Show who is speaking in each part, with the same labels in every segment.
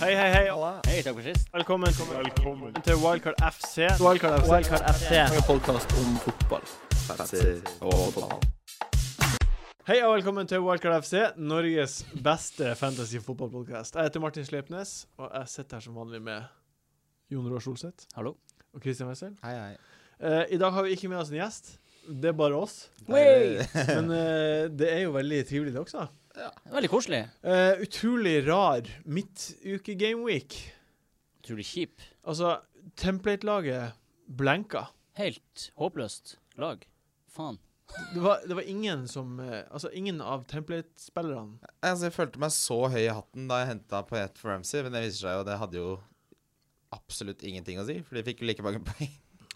Speaker 1: Hei, hei, hei.
Speaker 2: Hei, takk for sist.
Speaker 1: Velkommen
Speaker 3: Velkommen.
Speaker 1: til Wildcard FC.
Speaker 4: Wildcard FC.
Speaker 2: Wildcard FC.
Speaker 4: En podkast om fotball. Og fotball.
Speaker 1: Hei og velkommen til Wildcard FC, Norges beste fantasy-fotballpodkast. Jeg heter Martin Slepnes, og jeg sitter her som vanlig med Jon Roar Solseth
Speaker 2: Hallo.
Speaker 1: og Christian Wessel.
Speaker 5: Hei, hei.
Speaker 1: Eh, I dag har vi ikke med oss en gjest. Det er bare oss.
Speaker 2: Wey!
Speaker 1: Men eh, det er jo veldig trivelig, det også.
Speaker 2: Veldig koselig.
Speaker 1: Eh, utrolig rar midtuke-gameweek.
Speaker 2: Utrolig kjip.
Speaker 1: Altså, template-laget blenka.
Speaker 2: Helt håpløst lag. Faen.
Speaker 1: Det var, det var ingen som eh, Altså, ingen av template-spillerne
Speaker 5: Altså, jeg følte meg så høy i hatten da jeg henta Poet for Ramsey, men det viser seg jo det hadde jo absolutt ingenting å si, for de fikk jo like mange poeng.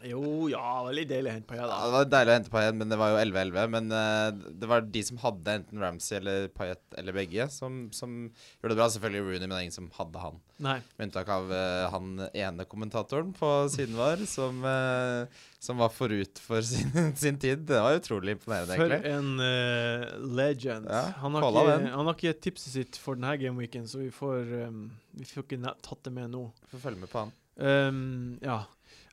Speaker 1: Jo, ja, veldig deilig å hente på, ja
Speaker 5: Ja,
Speaker 1: da.
Speaker 5: det var deilig å hente Payet, men det var jo 11-11. Men eh, det var de som hadde enten Ramsey eller Payet, eller begge, som, som gjorde det bra. Selvfølgelig Rooney, men det er ingen som hadde han.
Speaker 1: Nei.
Speaker 5: Med unntak av eh, han ene kommentatoren på siden vår, som, eh, som var forut for sin, sin tid. Det var utrolig imponerende,
Speaker 1: For
Speaker 5: egentlig.
Speaker 1: en eh, legend.
Speaker 5: Ja,
Speaker 1: han, har
Speaker 5: kalla
Speaker 1: ikke,
Speaker 5: den.
Speaker 1: han har ikke tipset sitt for denne gameweeken, så vi får, um, vi får ikke ne- tatt det med nå.
Speaker 5: Får følge med på han.
Speaker 1: Um, ja.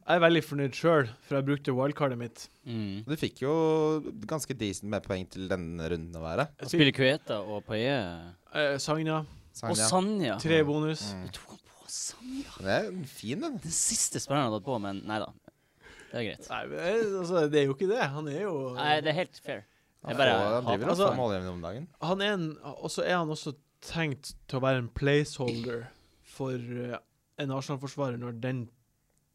Speaker 1: Jeg er veldig fornøyd sjøl, for jeg brukte wildcardet mitt.
Speaker 2: Mm.
Speaker 5: Du fikk jo ganske decent med poeng til denne runden å være.
Speaker 1: Jeg
Speaker 2: Spiller Kueta og Paillet.
Speaker 1: eh, Sagna,
Speaker 2: Og
Speaker 5: Sagna.
Speaker 2: Sanja.
Speaker 1: tre bonus.
Speaker 5: Mm.
Speaker 2: Du tok han på Sanja.
Speaker 5: Det er en fin, den.
Speaker 2: Den siste spilleren han hadde på, men nei da. Det er greit.
Speaker 1: Nei, men, eh, altså, det er jo ikke det. Han er jo
Speaker 2: Nei, det er helt fair.
Speaker 5: Han,
Speaker 2: Jeg bare
Speaker 5: får, han driver
Speaker 2: hater
Speaker 5: og får
Speaker 1: altså-
Speaker 5: målgivende om dagen.
Speaker 1: Han er en Og så er han også tenkt til å være en placeholder for eh, en Arsenal-forsvarer når den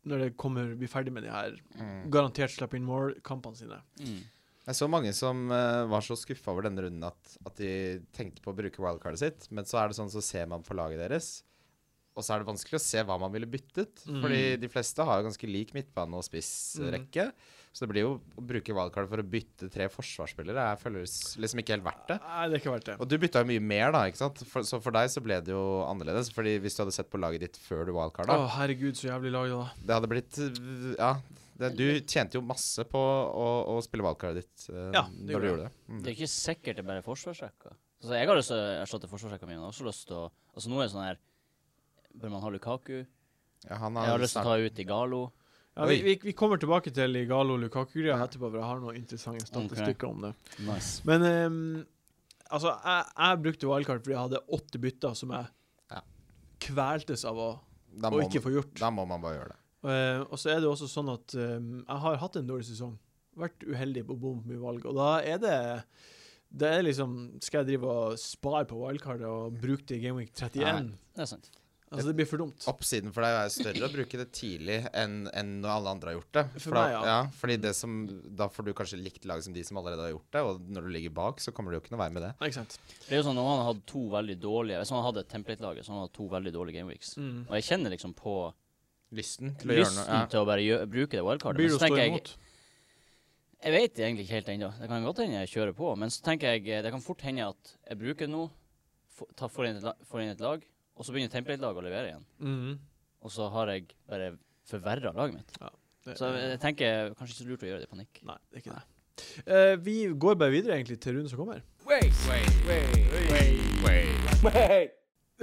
Speaker 1: når det kommer, blir ferdig med de her
Speaker 5: Mm.
Speaker 1: garantert slipper inn mål-kampene sine.
Speaker 2: Mm.
Speaker 5: Jeg så mange som eh, var så skuffa over denne runden at, at de tenkte på å bruke wildcardet sitt. Men så er det sånn så ser man på laget deres, og så er det vanskelig å se hva man ville byttet. Fordi
Speaker 2: Mm.
Speaker 5: de fleste har jo ganske lik midtbane- og spissrekke. Så det blir jo å bruke wildcardet for å bytte tre forsvarsspillere. Jeg føler s- liksom ikke helt verdt det.
Speaker 1: Nei, det er ikke verdt det.
Speaker 5: Og du bytta jo mye mer, da. ikke sant? For, så for deg så ble det jo annerledes. Fordi hvis du hadde sett på laget ditt før du
Speaker 1: Å,
Speaker 5: wildcarda,
Speaker 1: herregud, så jævlig lag, da.
Speaker 5: det hadde blitt øh, Ja. Det, du tjente jo masse på å, å spille wildcardet ditt øh,
Speaker 1: Ja, det
Speaker 5: når du
Speaker 1: gjorde
Speaker 5: gjorde det. Mm.
Speaker 2: Det er ikke sikkert det er bare forsvarsrekka. Altså, jeg har lyst til å erstatte forsvarsrekka mi, men jeg har også lyst til å Altså, nå er det sånn her Bør man ha Lukaku?
Speaker 5: Ja, han
Speaker 2: Jeg har lyst til å ta ut Igalo.
Speaker 1: Ja, vi,
Speaker 5: Oi.
Speaker 1: vi, vi kommer tilbake til Igalo Lukaku-greia etterpå, for jeg har noen interessante statistikker om det.
Speaker 2: Nice.
Speaker 1: Men ehm, altså, jeg, jeg brukte wildcard fordi jeg hadde åtte bytter som jeg
Speaker 5: Ja.
Speaker 1: kveltes av å,
Speaker 5: da,
Speaker 1: å
Speaker 5: må
Speaker 1: ikke
Speaker 5: man,
Speaker 1: få gjort.
Speaker 5: da må man bare gjøre det.
Speaker 1: Eh, og så er det også sånn at ehm, jeg har hatt en dårlig sesong. Vært uheldig på bom på mye valg. Og da er det det er liksom Skal jeg drive og spare på wildcardet og bruke det i Gameweek 31?
Speaker 2: Det er sant.
Speaker 1: Altså, det blir for dumt.
Speaker 5: Oppsiden for deg er større å bruke det tidlig enn enn når alle andre har gjort det.
Speaker 1: For
Speaker 5: da,
Speaker 1: meg, ja.
Speaker 5: fordi det som, da får du kanskje likt lag som de som allerede har gjort det, og når du ligger bak, så kommer du jo ikke noe vei med det.
Speaker 1: Nei, Ikke sant?
Speaker 2: Det er jo sånn når han har hatt to veldig dårlige Hvis han hadde et template-lag, så hadde han hatt to veldig dårlige gameweeks.
Speaker 1: Mm.
Speaker 2: Og jeg kjenner liksom på
Speaker 5: Lysten til å gjøre
Speaker 2: lysten
Speaker 5: noe. Ja.
Speaker 2: til å bare gjø bruke det wildcardet.
Speaker 1: Blir
Speaker 2: Men
Speaker 1: det å
Speaker 2: så
Speaker 1: stå
Speaker 2: tenker jeg
Speaker 1: imot?
Speaker 2: Jeg vet egentlig ikke helt ennå. Det kan godt hende jeg kjører på. Men så tenker jeg eh, det kan fort hende at jeg bruker noe, få- ta- får inn et, la- får inn et lag, og så begynner template-laget å levere igjen.
Speaker 1: Mhm.
Speaker 2: Og så har jeg bare forverra laget mitt.
Speaker 1: Det-
Speaker 2: Så eh, jeg, jeg tenker kanskje ikke så lurt å gjøre det i panikk.
Speaker 1: Nei, det er ikke det. Eh, vi går bare videre egentlig til runden som kommer.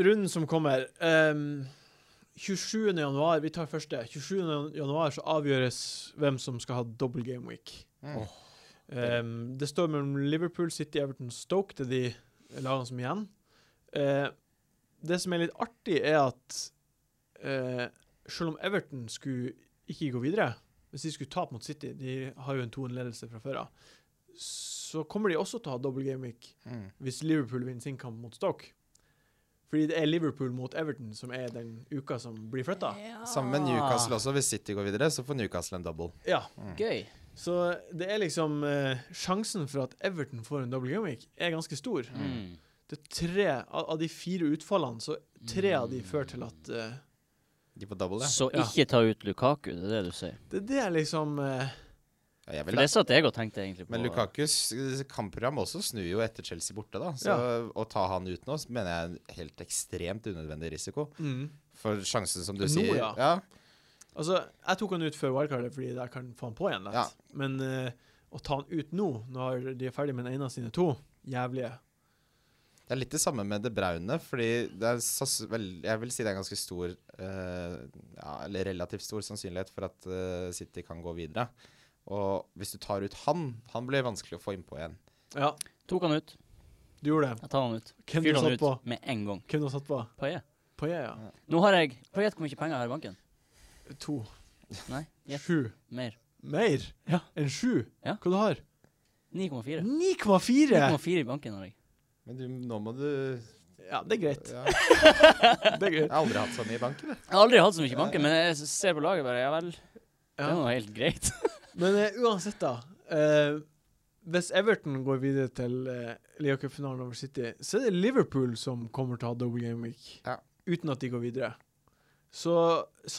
Speaker 1: Runden som kommer ehm, 27. januar, Vi tar første. 27. januar så avgjøres hvem som skal ha double game week.
Speaker 5: Mm.
Speaker 1: Ehm, det står mellom Liverpool, City, Everton, Stoke. Det er de lagene som er igjen. Eh, det som er litt artig, er at eh, selv om Everton skulle ikke gå videre Hvis de skulle tape mot City, de har jo en 2-1-ledelse fra før av, så kommer de også til å ha double game week
Speaker 5: Mm.
Speaker 1: hvis Liverpool vinner sin kamp mot Stoke. Fordi det er Liverpool mot Everton som er den uka som blir flytta.
Speaker 5: Sammen med Newcastle også. Hvis City går videre, så får Newcastle en double. Mm.
Speaker 1: Ja.
Speaker 2: Gøy.
Speaker 1: Så det er liksom eh, Sjansen for at Everton får en double game week, er ganske stor.
Speaker 2: Mm.
Speaker 1: Det er tre av, av de fire utfallene, så tre av de fører til at eh,
Speaker 5: De får double, ja.
Speaker 2: Så
Speaker 1: Ja.
Speaker 2: ikke ta ut Lukaku, det er det du sier.
Speaker 1: Det er det jeg liksom eh,
Speaker 5: ja jeg
Speaker 2: For
Speaker 5: vil det.
Speaker 2: det satt jeg og tenkte egentlig på.
Speaker 5: Men Lukakus eh, kampprogram også snur jo etter Chelsea borte, da. Så å ta han ut nå så mener jeg er en helt ekstremt unødvendig risiko.
Speaker 1: mm.
Speaker 5: For sjansen, som du
Speaker 1: Nå,
Speaker 5: sier
Speaker 1: ja.
Speaker 5: ja,
Speaker 1: Altså, jeg tok han ut før wildcardet fordi jeg kan få han på igjen lett.
Speaker 5: Ja.
Speaker 1: Men eh, å ta han ut nå, når de er ferdig med den ene av sine to jævlige
Speaker 5: Det er litt det samme med De Braune, fordi det er sanns- vel, jeg vil si det er ganske stor eh, ja, Eller relativt stor sannsynlighet for at eh, City kan gå videre. Og hvis du tar ut han, han blir vanskelig å få innpå igjen.
Speaker 1: Ja,
Speaker 2: Tok han ut.
Speaker 1: du gjorde det.
Speaker 2: Jeg tar han ut.
Speaker 1: Hvem du
Speaker 2: Fyrt han
Speaker 1: satt
Speaker 2: ut
Speaker 1: på?
Speaker 2: med en gang.
Speaker 1: Hvem du satt på?
Speaker 2: Paillet.
Speaker 1: Paillet, ja.
Speaker 2: Nå har jeg Paillet hvor mye penger jeg har i banken.
Speaker 1: To.
Speaker 2: Nei, gjett
Speaker 1: Sju.
Speaker 2: mer.
Speaker 1: Mer
Speaker 2: Ja.
Speaker 1: enn sju?
Speaker 2: Ja.
Speaker 1: Hva du har
Speaker 2: 9,4.
Speaker 1: 9,4!
Speaker 2: 9,4 i banken har jeg.
Speaker 5: Men du, nå må du
Speaker 1: Ja, det er greit.
Speaker 5: ja.
Speaker 1: Det er
Speaker 5: Jeg
Speaker 1: greit.
Speaker 5: har aldri hatt så mye i banken. Jeg.
Speaker 2: Jeg har aldri hatt så mye i banken, men jeg ser på laget bare Ja vel, det er
Speaker 1: Ja.
Speaker 2: nå helt greit.
Speaker 1: Men eh, uansett, da. eh, hvis Everton går videre til uh, Lia-cupfinalen over City, så er det Liverpool som kommer til å ha double game week.
Speaker 5: Ja.
Speaker 1: Uten at de går videre. Så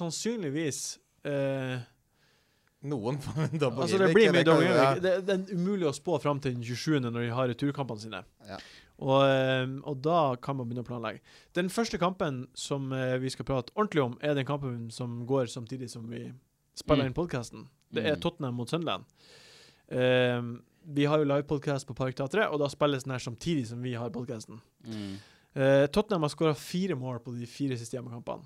Speaker 1: sannsynligvis eh,
Speaker 5: Noen får en double
Speaker 1: Altså, det
Speaker 5: gimmick,
Speaker 1: blir mye
Speaker 5: kan-
Speaker 1: double
Speaker 5: ja.
Speaker 1: game week. Det, det er umulig å spå fram til den 27. når de har returkampene sine.
Speaker 5: Ja.
Speaker 1: Og, eh, og da kan man begynne å planlegge. Den første kampen som eh, vi skal prate ordentlig om, er den kampen som går samtidig som vi spiller
Speaker 2: Mm.
Speaker 1: inn podkasten. Det er
Speaker 2: Mm.
Speaker 1: Tottenham mot Sunderland. Eh, vi har jo livepodkast på Parkteatret, og da spilles den her samtidig som vi har podkasten.
Speaker 2: Mm.
Speaker 1: Eh, Tottenham har skåra fire mål på de fire siste hjemmekampene.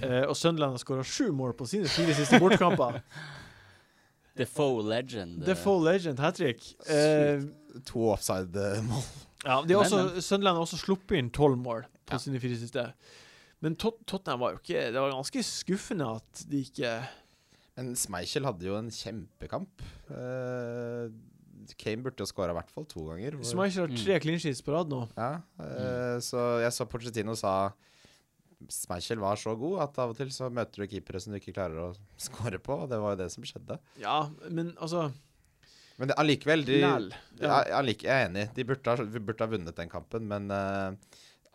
Speaker 1: Eh, og Sunderland har skåra sju mål på sine fire siste bortekamper.
Speaker 2: The Foe Legend.
Speaker 1: The Foe Legend hat trick. Eh,
Speaker 5: To offside-mål.
Speaker 1: ja, de har
Speaker 2: Men,
Speaker 1: også, Sunderland har også sluppet inn tolv mål på
Speaker 5: Ja.
Speaker 1: sine fire siste. Men Tot Tottenham var jo ikke Det var ganske skuffende at de ikke
Speaker 5: Men Schmeichel hadde jo en kjempekamp. Eh, Kane burde jo skåra i hvert fall to ganger. hvor-
Speaker 1: Schmeichel har tre clean sheets på rad nå.
Speaker 5: Ja, eh, så jeg så Pochettino sa Schmeichel var så god at av og til så møter du keepere som du ikke klarer å score på, og det var jo det som skjedde.
Speaker 1: Ja, men altså
Speaker 5: Men det- allikevel de,
Speaker 1: Lell.
Speaker 5: ja. allike, Jeg er enig. De burde ha, vi burde ha vunnet den kampen, men eh,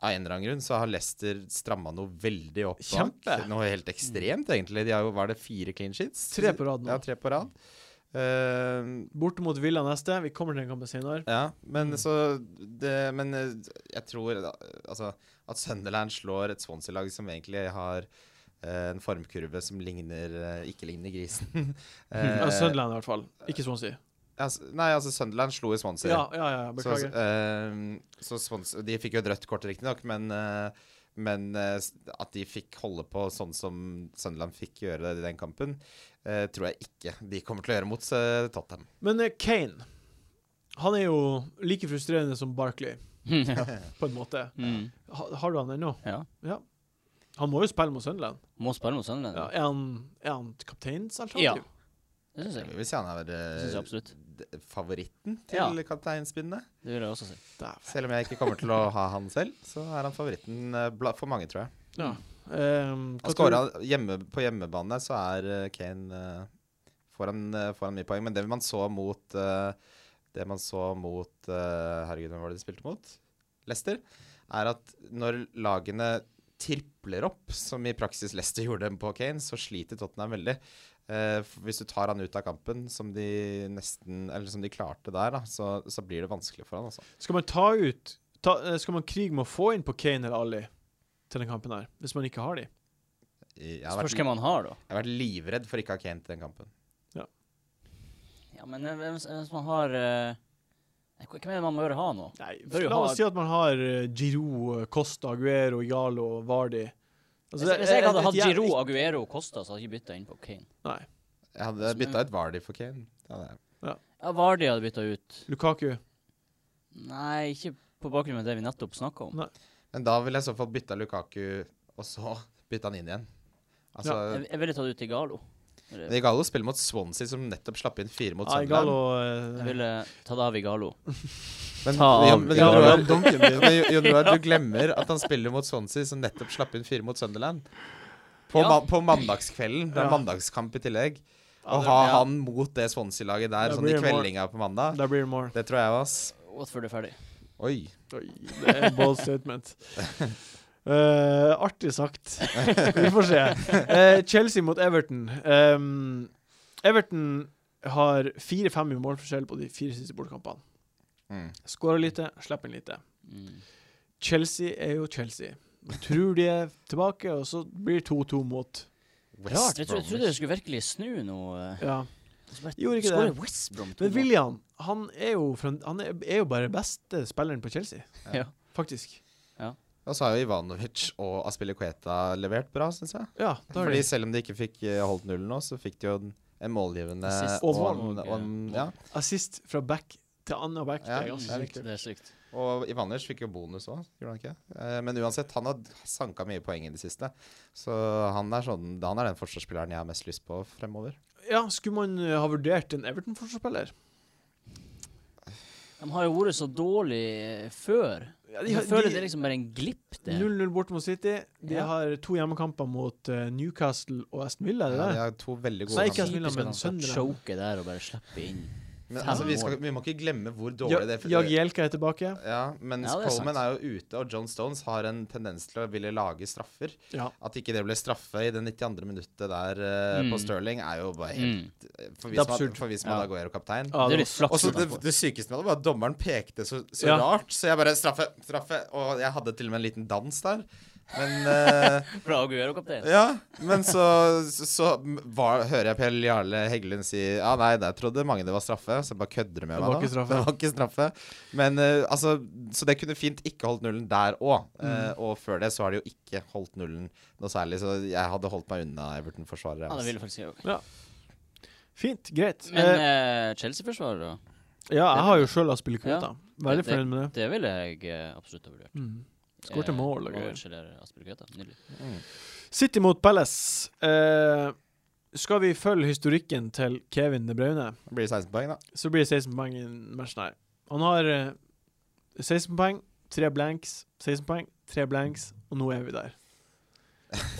Speaker 5: av en eller annen grunn så har Leicester stramma noe veldig opp. bak.
Speaker 1: Kjempe. Mm.
Speaker 5: Noe helt ekstremt, egentlig. De har jo, var det fire clean sheets?
Speaker 1: Tre på rad nå.
Speaker 5: Ja, tre på rad. Eh,
Speaker 1: Borte mot Villa neste. Vi kommer til den kampen senere.
Speaker 5: Ja,
Speaker 1: Mm.
Speaker 5: men så det, Men eh, jeg tror da, altså, at Sunderland slår et Swansea-lag som egentlig har eh, en formkurve som ligner eh, ikke ligner grisen. Eh,
Speaker 1: Ja, Mm. Altså, Sunderland i hvert fall. Ikke Swansea.
Speaker 5: altså, nei, altså Sunderland slo i Swansea.
Speaker 1: Ja, ja, ja,
Speaker 5: så,
Speaker 1: beklager.
Speaker 5: eh, så Swansea De fikk jo et rødt kort, riktignok, men eh, men eh, s- at de fikk holde på sånn som Sunderland fikk gjøre det i den kampen, eh, tror jeg ikke de kommer til å gjøre mot eh, Tottenham.
Speaker 1: Men eh, Kane Han er jo like frustrerende som Barkley,
Speaker 2: Legend.
Speaker 1: på en måte.
Speaker 2: mm.
Speaker 1: Ha, har du han ennå?
Speaker 2: Ja.
Speaker 1: Han må jo spille mot Sunderland.
Speaker 2: Må spille mot Sunderland.
Speaker 1: Ja,
Speaker 2: Ja.
Speaker 1: er han, er han kapteinsalternativ?
Speaker 2: Det syns
Speaker 5: Jeg
Speaker 2: jeg.
Speaker 5: vil si han er
Speaker 2: Det synes jeg
Speaker 5: eh,
Speaker 2: absolutt.
Speaker 5: d- favoritten til
Speaker 2: Ja.
Speaker 5: kapteinspinnet.
Speaker 2: Det vil jeg også si.
Speaker 1: Dæven.
Speaker 5: Selv om jeg ikke kommer til å ha han selv, så er han favoritten eh, bla- for mange, tror jeg.
Speaker 1: Ja. Ehm, hva
Speaker 5: Han
Speaker 1: tror du-
Speaker 5: scoret hjemme, på hjemmebane, så er eh, Kane eh, får, han, eh, får han mye poeng. Men det man så mot eh, Det man så mot eh, Herregud, hvem var det de spilte mot? Leicester. Er at når lagene tripler opp, som i praksis Leicester gjorde på Kane, så sliter Tottenham veldig. Eh, f- hvis du tar han ut av kampen, som de nesten Eller som de klarte der, da, så, så blir det vanskelig for han, altså.
Speaker 1: Skal man ta ut ta, eh, Skal man krige med å få inn på Kane eller Ali til den kampen her, hvis man ikke har de?
Speaker 5: Jeg har
Speaker 2: Spørs
Speaker 5: vært
Speaker 2: hvem han har, da.
Speaker 5: Jeg har vært livredd for ikke å ha Kane til den kampen.
Speaker 2: Ja, men eh, hvem s- hvis man har eh, nei, hva- Hvem er det man bør ha nå?
Speaker 1: Nei,
Speaker 2: Bør jo
Speaker 1: La
Speaker 2: ha-
Speaker 1: oss si at man har eh, Giroud, eh, Costa, Aguero, Altså, Jalo, Vardi
Speaker 2: Hvis, hvis jeg hadde hatt Giro,
Speaker 1: Giroud
Speaker 2: Aguero og Costa, så hadde jeg ikke bytta inn på Kane.
Speaker 1: Nei.
Speaker 5: Jeg hadde
Speaker 2: Som-
Speaker 5: bytta ut Vardy for Kane. Det hadde jeg.
Speaker 2: Ja, Vardi hadde bytta ut.
Speaker 1: Lukaku.
Speaker 2: Nei, ikke på bakgrunn av det vi nettopp snakka om.
Speaker 5: Men da ville jeg i så fall bytta Lukaku, og så bytta han inn igjen. Altså,
Speaker 2: Jeg, jeg ville tatt ut Igalo. Eller,
Speaker 5: Igalo spiller mot Swansea, som nettopp slapp inn fire mot
Speaker 1: Ah,
Speaker 5: Sunderland.
Speaker 1: Igalo
Speaker 2: jeg
Speaker 1: eh,
Speaker 2: ville tatt av Igalo.
Speaker 5: Men,
Speaker 2: Ta
Speaker 5: ja,
Speaker 2: av
Speaker 5: men
Speaker 2: Igalo.
Speaker 5: Jon Roar- men Jo- Jon Roar, du glemmer at han spiller mot Swansea, som nettopp slapp inn fire mot Sunderland. På,
Speaker 2: Ja.
Speaker 5: ma på mandagskvelden. Det er
Speaker 1: Ja.
Speaker 5: mandagskamp i tillegg. Å
Speaker 1: ja,
Speaker 5: ha
Speaker 2: ja.
Speaker 5: han mot det Swansea-laget der,
Speaker 1: Da
Speaker 5: sånn i
Speaker 1: blir det mål.
Speaker 5: kveldinga på
Speaker 1: der-
Speaker 5: mandag,
Speaker 1: Der blir det more.
Speaker 5: det tror jeg var ass.
Speaker 2: Watford er ferdig.
Speaker 5: Oi.
Speaker 1: Oi, det er en bold statement. Eh, artig sagt. Vi får se. Eh, Chelsea mot Everton. Ehm, Everton har fire-fem i målforskjell på de fire siste bortekampene.
Speaker 5: Mm.
Speaker 1: Skårer lite, slipper inn lite.
Speaker 2: Mm.
Speaker 1: Chelsea er jo Chelsea. Man tror de er tilbake, og så blir det 2-2 mot
Speaker 2: Rart. Jeg,
Speaker 5: West
Speaker 2: tro, jeg
Speaker 5: Bromwich.
Speaker 2: trodde det skulle virkelig snu nå. eh.
Speaker 1: Ja.
Speaker 2: Så bare
Speaker 1: Gjorde ikke
Speaker 2: skårer
Speaker 1: det.
Speaker 2: West Brom to
Speaker 1: Men
Speaker 2: mål.
Speaker 1: William, han er jo, fra, han er, er jo bare beste spilleren på Chelsea,
Speaker 2: Ja.
Speaker 1: faktisk.
Speaker 5: Og så har jo Ivanovic og Aspilicueta levert bra, syns jeg.
Speaker 1: Ja, da er
Speaker 5: Fordi
Speaker 1: det
Speaker 5: selv om de ikke fikk eh, holdt nullen nå, så fikk de jo en en målgivende
Speaker 2: Assist.
Speaker 5: og,
Speaker 1: Og
Speaker 5: en-
Speaker 2: mål.
Speaker 5: og, en- ja.
Speaker 1: assist fra back til annen back. det
Speaker 5: Ja,
Speaker 1: er
Speaker 5: det er
Speaker 1: ganske
Speaker 5: viktig.
Speaker 1: sykt.
Speaker 2: Det er sykt.
Speaker 5: og Ivanovic fikk jo bonus òg, gjorde han ikke? Eh, Men uansett, han har sanka mye poeng i det siste. Så han er, sånn, han er den forsvarsspilleren jeg har mest lyst på fremover.
Speaker 1: Ja, skulle man eh, ha vurdert en Everton-forsvarsspiller?
Speaker 2: De har jo vært så dårlig eh, før.
Speaker 1: Ja, de
Speaker 2: Jeg
Speaker 1: har- de-
Speaker 2: føler det er liksom bare en glipp der.
Speaker 1: 0-0 bort mot City. De
Speaker 2: Ja.
Speaker 1: har to hjemmekamper mot eh, Newcastle og Aston Villa. er
Speaker 5: Ja,
Speaker 1: det
Speaker 5: de
Speaker 1: det?
Speaker 5: har to veldig
Speaker 1: Så
Speaker 5: gode
Speaker 1: jeg ikke-
Speaker 5: kamper.
Speaker 1: Aston Villa,
Speaker 2: Typisk at
Speaker 1: men
Speaker 2: han skal
Speaker 1: Sunderland.
Speaker 2: choke der og bare slippe inn.
Speaker 5: Men altså, vi, skal,
Speaker 2: mål.
Speaker 5: vi må ikke glemme hvor dårlig det
Speaker 1: Ja, Jagielka er tilbake.
Speaker 5: Ja, mens
Speaker 2: Ja, det er sant.
Speaker 5: Coleman er jo ute, og John Stones har en tendens til å ville lage straffer.
Speaker 1: Ja.
Speaker 5: At ikke det ble straffe i det 92. minuttet der eh,
Speaker 2: Mm.
Speaker 5: på Sterling, er jo bare helt
Speaker 2: Mm.
Speaker 5: For
Speaker 1: Det er
Speaker 5: hvis man,
Speaker 1: absurd.
Speaker 5: for hvis man
Speaker 2: Ja.
Speaker 5: da går kaptein.
Speaker 1: Ja,
Speaker 2: Det
Speaker 1: det
Speaker 2: er litt
Speaker 1: var-
Speaker 5: Og
Speaker 2: flaks.
Speaker 5: så det,
Speaker 2: da.
Speaker 5: det sykeste med det var at dommeren pekte så, så
Speaker 1: Ja.
Speaker 5: rart, så jeg bare Straffe, straffe. Og jeg hadde til og med en liten dans der. Men eh,
Speaker 2: Fra Aguero-kapteinen.
Speaker 5: Ja, men så, så, så var, hører jeg Per Jarle Heggelund si Ja, nei, der trodde mange det var straffe, så jeg bare kødder du med
Speaker 1: Det var
Speaker 5: meg nå.
Speaker 1: ikke straffe.
Speaker 5: Det var ikke straffe. Men eh, altså Så det kunne fint ikke holdt nullen der òg.
Speaker 1: Mm.
Speaker 5: og før det så har de jo ikke holdt nullen noe særlig, så jeg hadde holdt meg unna
Speaker 2: Ja,
Speaker 5: Everton-forsvarere.
Speaker 2: det
Speaker 5: altså.
Speaker 2: ville faktisk jeg òg.
Speaker 1: Fint, greit.
Speaker 2: Men
Speaker 1: eh,
Speaker 2: eh, Chelsea-forsvarere,
Speaker 1: ja, jeg har jo sjøl Aspille Kvota. Veldig
Speaker 2: Det- det-
Speaker 1: fornøyd med det.
Speaker 2: det ville jeg eh, absolutt ha vurdert. Eh,
Speaker 1: Mm. Skår til mål og greier.
Speaker 2: greier. Nydelig.
Speaker 5: Mm.
Speaker 1: City mot Palace. Eh, skal vi følge historikken til Kevin De Bruyne,
Speaker 5: Det blir 16 poeng, da.
Speaker 1: så blir det 16 poeng i matchen her. Han har eh, 16 poeng, 3 blanks, 16 poeng, 3 blanks, og nå er vi der.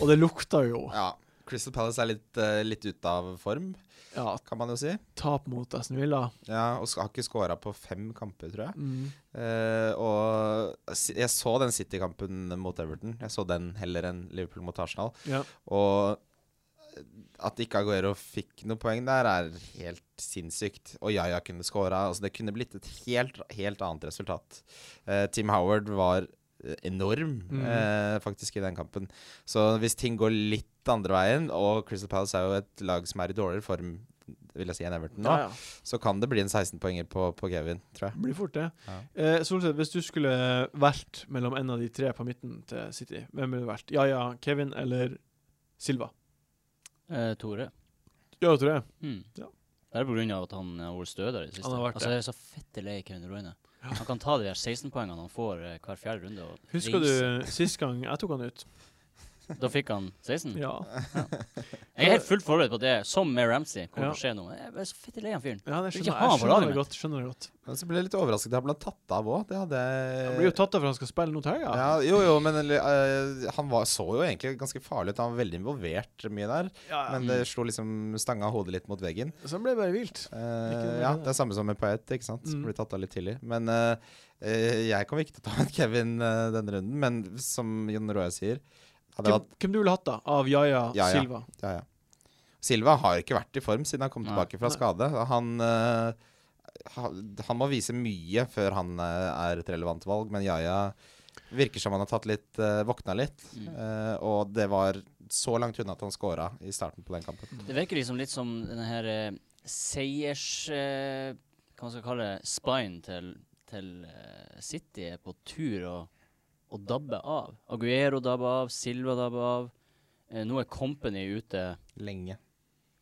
Speaker 1: Og det lukter jo
Speaker 5: Ja. Crystal Palace er litt, eh, litt ute av form,
Speaker 1: ja,
Speaker 5: kan man jo si.
Speaker 1: tap mot Aston Villa.
Speaker 5: Ja, Og sk- har ikke scora på fem kamper, tror jeg.
Speaker 1: Mm.
Speaker 5: Eh, og si- jeg så den City-kampen mot Everton. Jeg så den heller enn Liverpool mot Arsenal.
Speaker 1: Ja.
Speaker 5: Og at ikke Aguero fikk noe poeng der, er helt sinnssykt. Og Yaya kunne skåra. Altså, det kunne blitt et helt, helt annet resultat. Eh, Tim Howard var eh, enorm,
Speaker 1: Mhm.
Speaker 5: eh, faktisk, i den kampen. Så hvis ting går litt andre veien, og Crystal Palace er jo et lag som er i dårligere form, vil jeg si, enn Everton nå,
Speaker 1: Ja, ja.
Speaker 5: så kan det bli en 16-poenger på, på Kevin, tror jeg.
Speaker 1: Det blir fort det.
Speaker 5: Ja.
Speaker 1: Eh, Solseth, hvis du skulle valgt mellom en av de tre på midten til City, hvem ville du valgt? Ja ja, Kevin eller Silva?
Speaker 2: Eh, Tore.
Speaker 1: Ja, tror jeg.
Speaker 2: Mm.
Speaker 1: Ja.
Speaker 2: Det er på grunn av at han har vært stødigere i det siste.
Speaker 1: Han har vært
Speaker 2: altså, jeg er så fette lei Kevin De Bruyne. Han kan ta de der 16-poengene han får eh, hver fjerde runde. Og
Speaker 1: Husker
Speaker 2: reise.
Speaker 1: du sist gang jeg tok han ut?
Speaker 2: Da fikk han 16?
Speaker 1: Ja.
Speaker 2: Jeg er helt fullt forberedt på at det, som med Ramsey, kommer
Speaker 1: Ja.
Speaker 2: til å skje noe. Jeg er så fette lei han fyren.
Speaker 1: ja det
Speaker 2: Ikke
Speaker 1: skjønner
Speaker 2: ha
Speaker 1: jeg.
Speaker 2: han på laget
Speaker 1: Skjønner det
Speaker 2: mitt.
Speaker 1: godt. skjønner det godt.
Speaker 5: Men så ble jeg litt overrasket. Han ble tatt av òg. Det hadde
Speaker 1: Han blir jo tatt av for han skal spille nå til helga.
Speaker 5: Eh, ja, jo, jo, men eller, eh, han var, så jo egentlig ganske farlig ut. Han var veldig involvert mye der.
Speaker 1: Ja, ja.
Speaker 5: Men det slo liksom stanga hodet litt mot veggen.
Speaker 1: Så han ble bare vilt.
Speaker 5: Eh,
Speaker 1: noe med
Speaker 5: ja,
Speaker 1: det.
Speaker 5: Det er samme som med Paet, ikke sant.
Speaker 1: Mm.
Speaker 5: Blir tatt av litt tidlig. Men eh, eh, jeg kommer ikke til å ta med Kevin eh, denne runden. Men som Jon Roar sier hadde jeg
Speaker 1: Hvem,
Speaker 5: hatt,
Speaker 1: hvem du ville hatt, da? Av Jaja,
Speaker 5: Yaya.
Speaker 1: Silva?
Speaker 5: ja, ja. Silva har ikke vært i form siden han kom
Speaker 2: Nei.
Speaker 5: tilbake fra
Speaker 1: Nei.
Speaker 5: skade. Han, eh, ha, han må vise mye før han eh, er et relevant valg, men Yaya virker som han har tatt litt, eh, våkna litt.
Speaker 2: Mm.
Speaker 5: Eh, og det var så langt unna at han scora i starten på den kampen.
Speaker 2: Det virker liksom litt som denne her eh, seiers... Eh, hva man skal kalle det? Spine til, til eh, City er på tur å, å dabbe av. Aguero dabber av, Silva dabber av. Eh, nå er Company ute
Speaker 5: Lenge.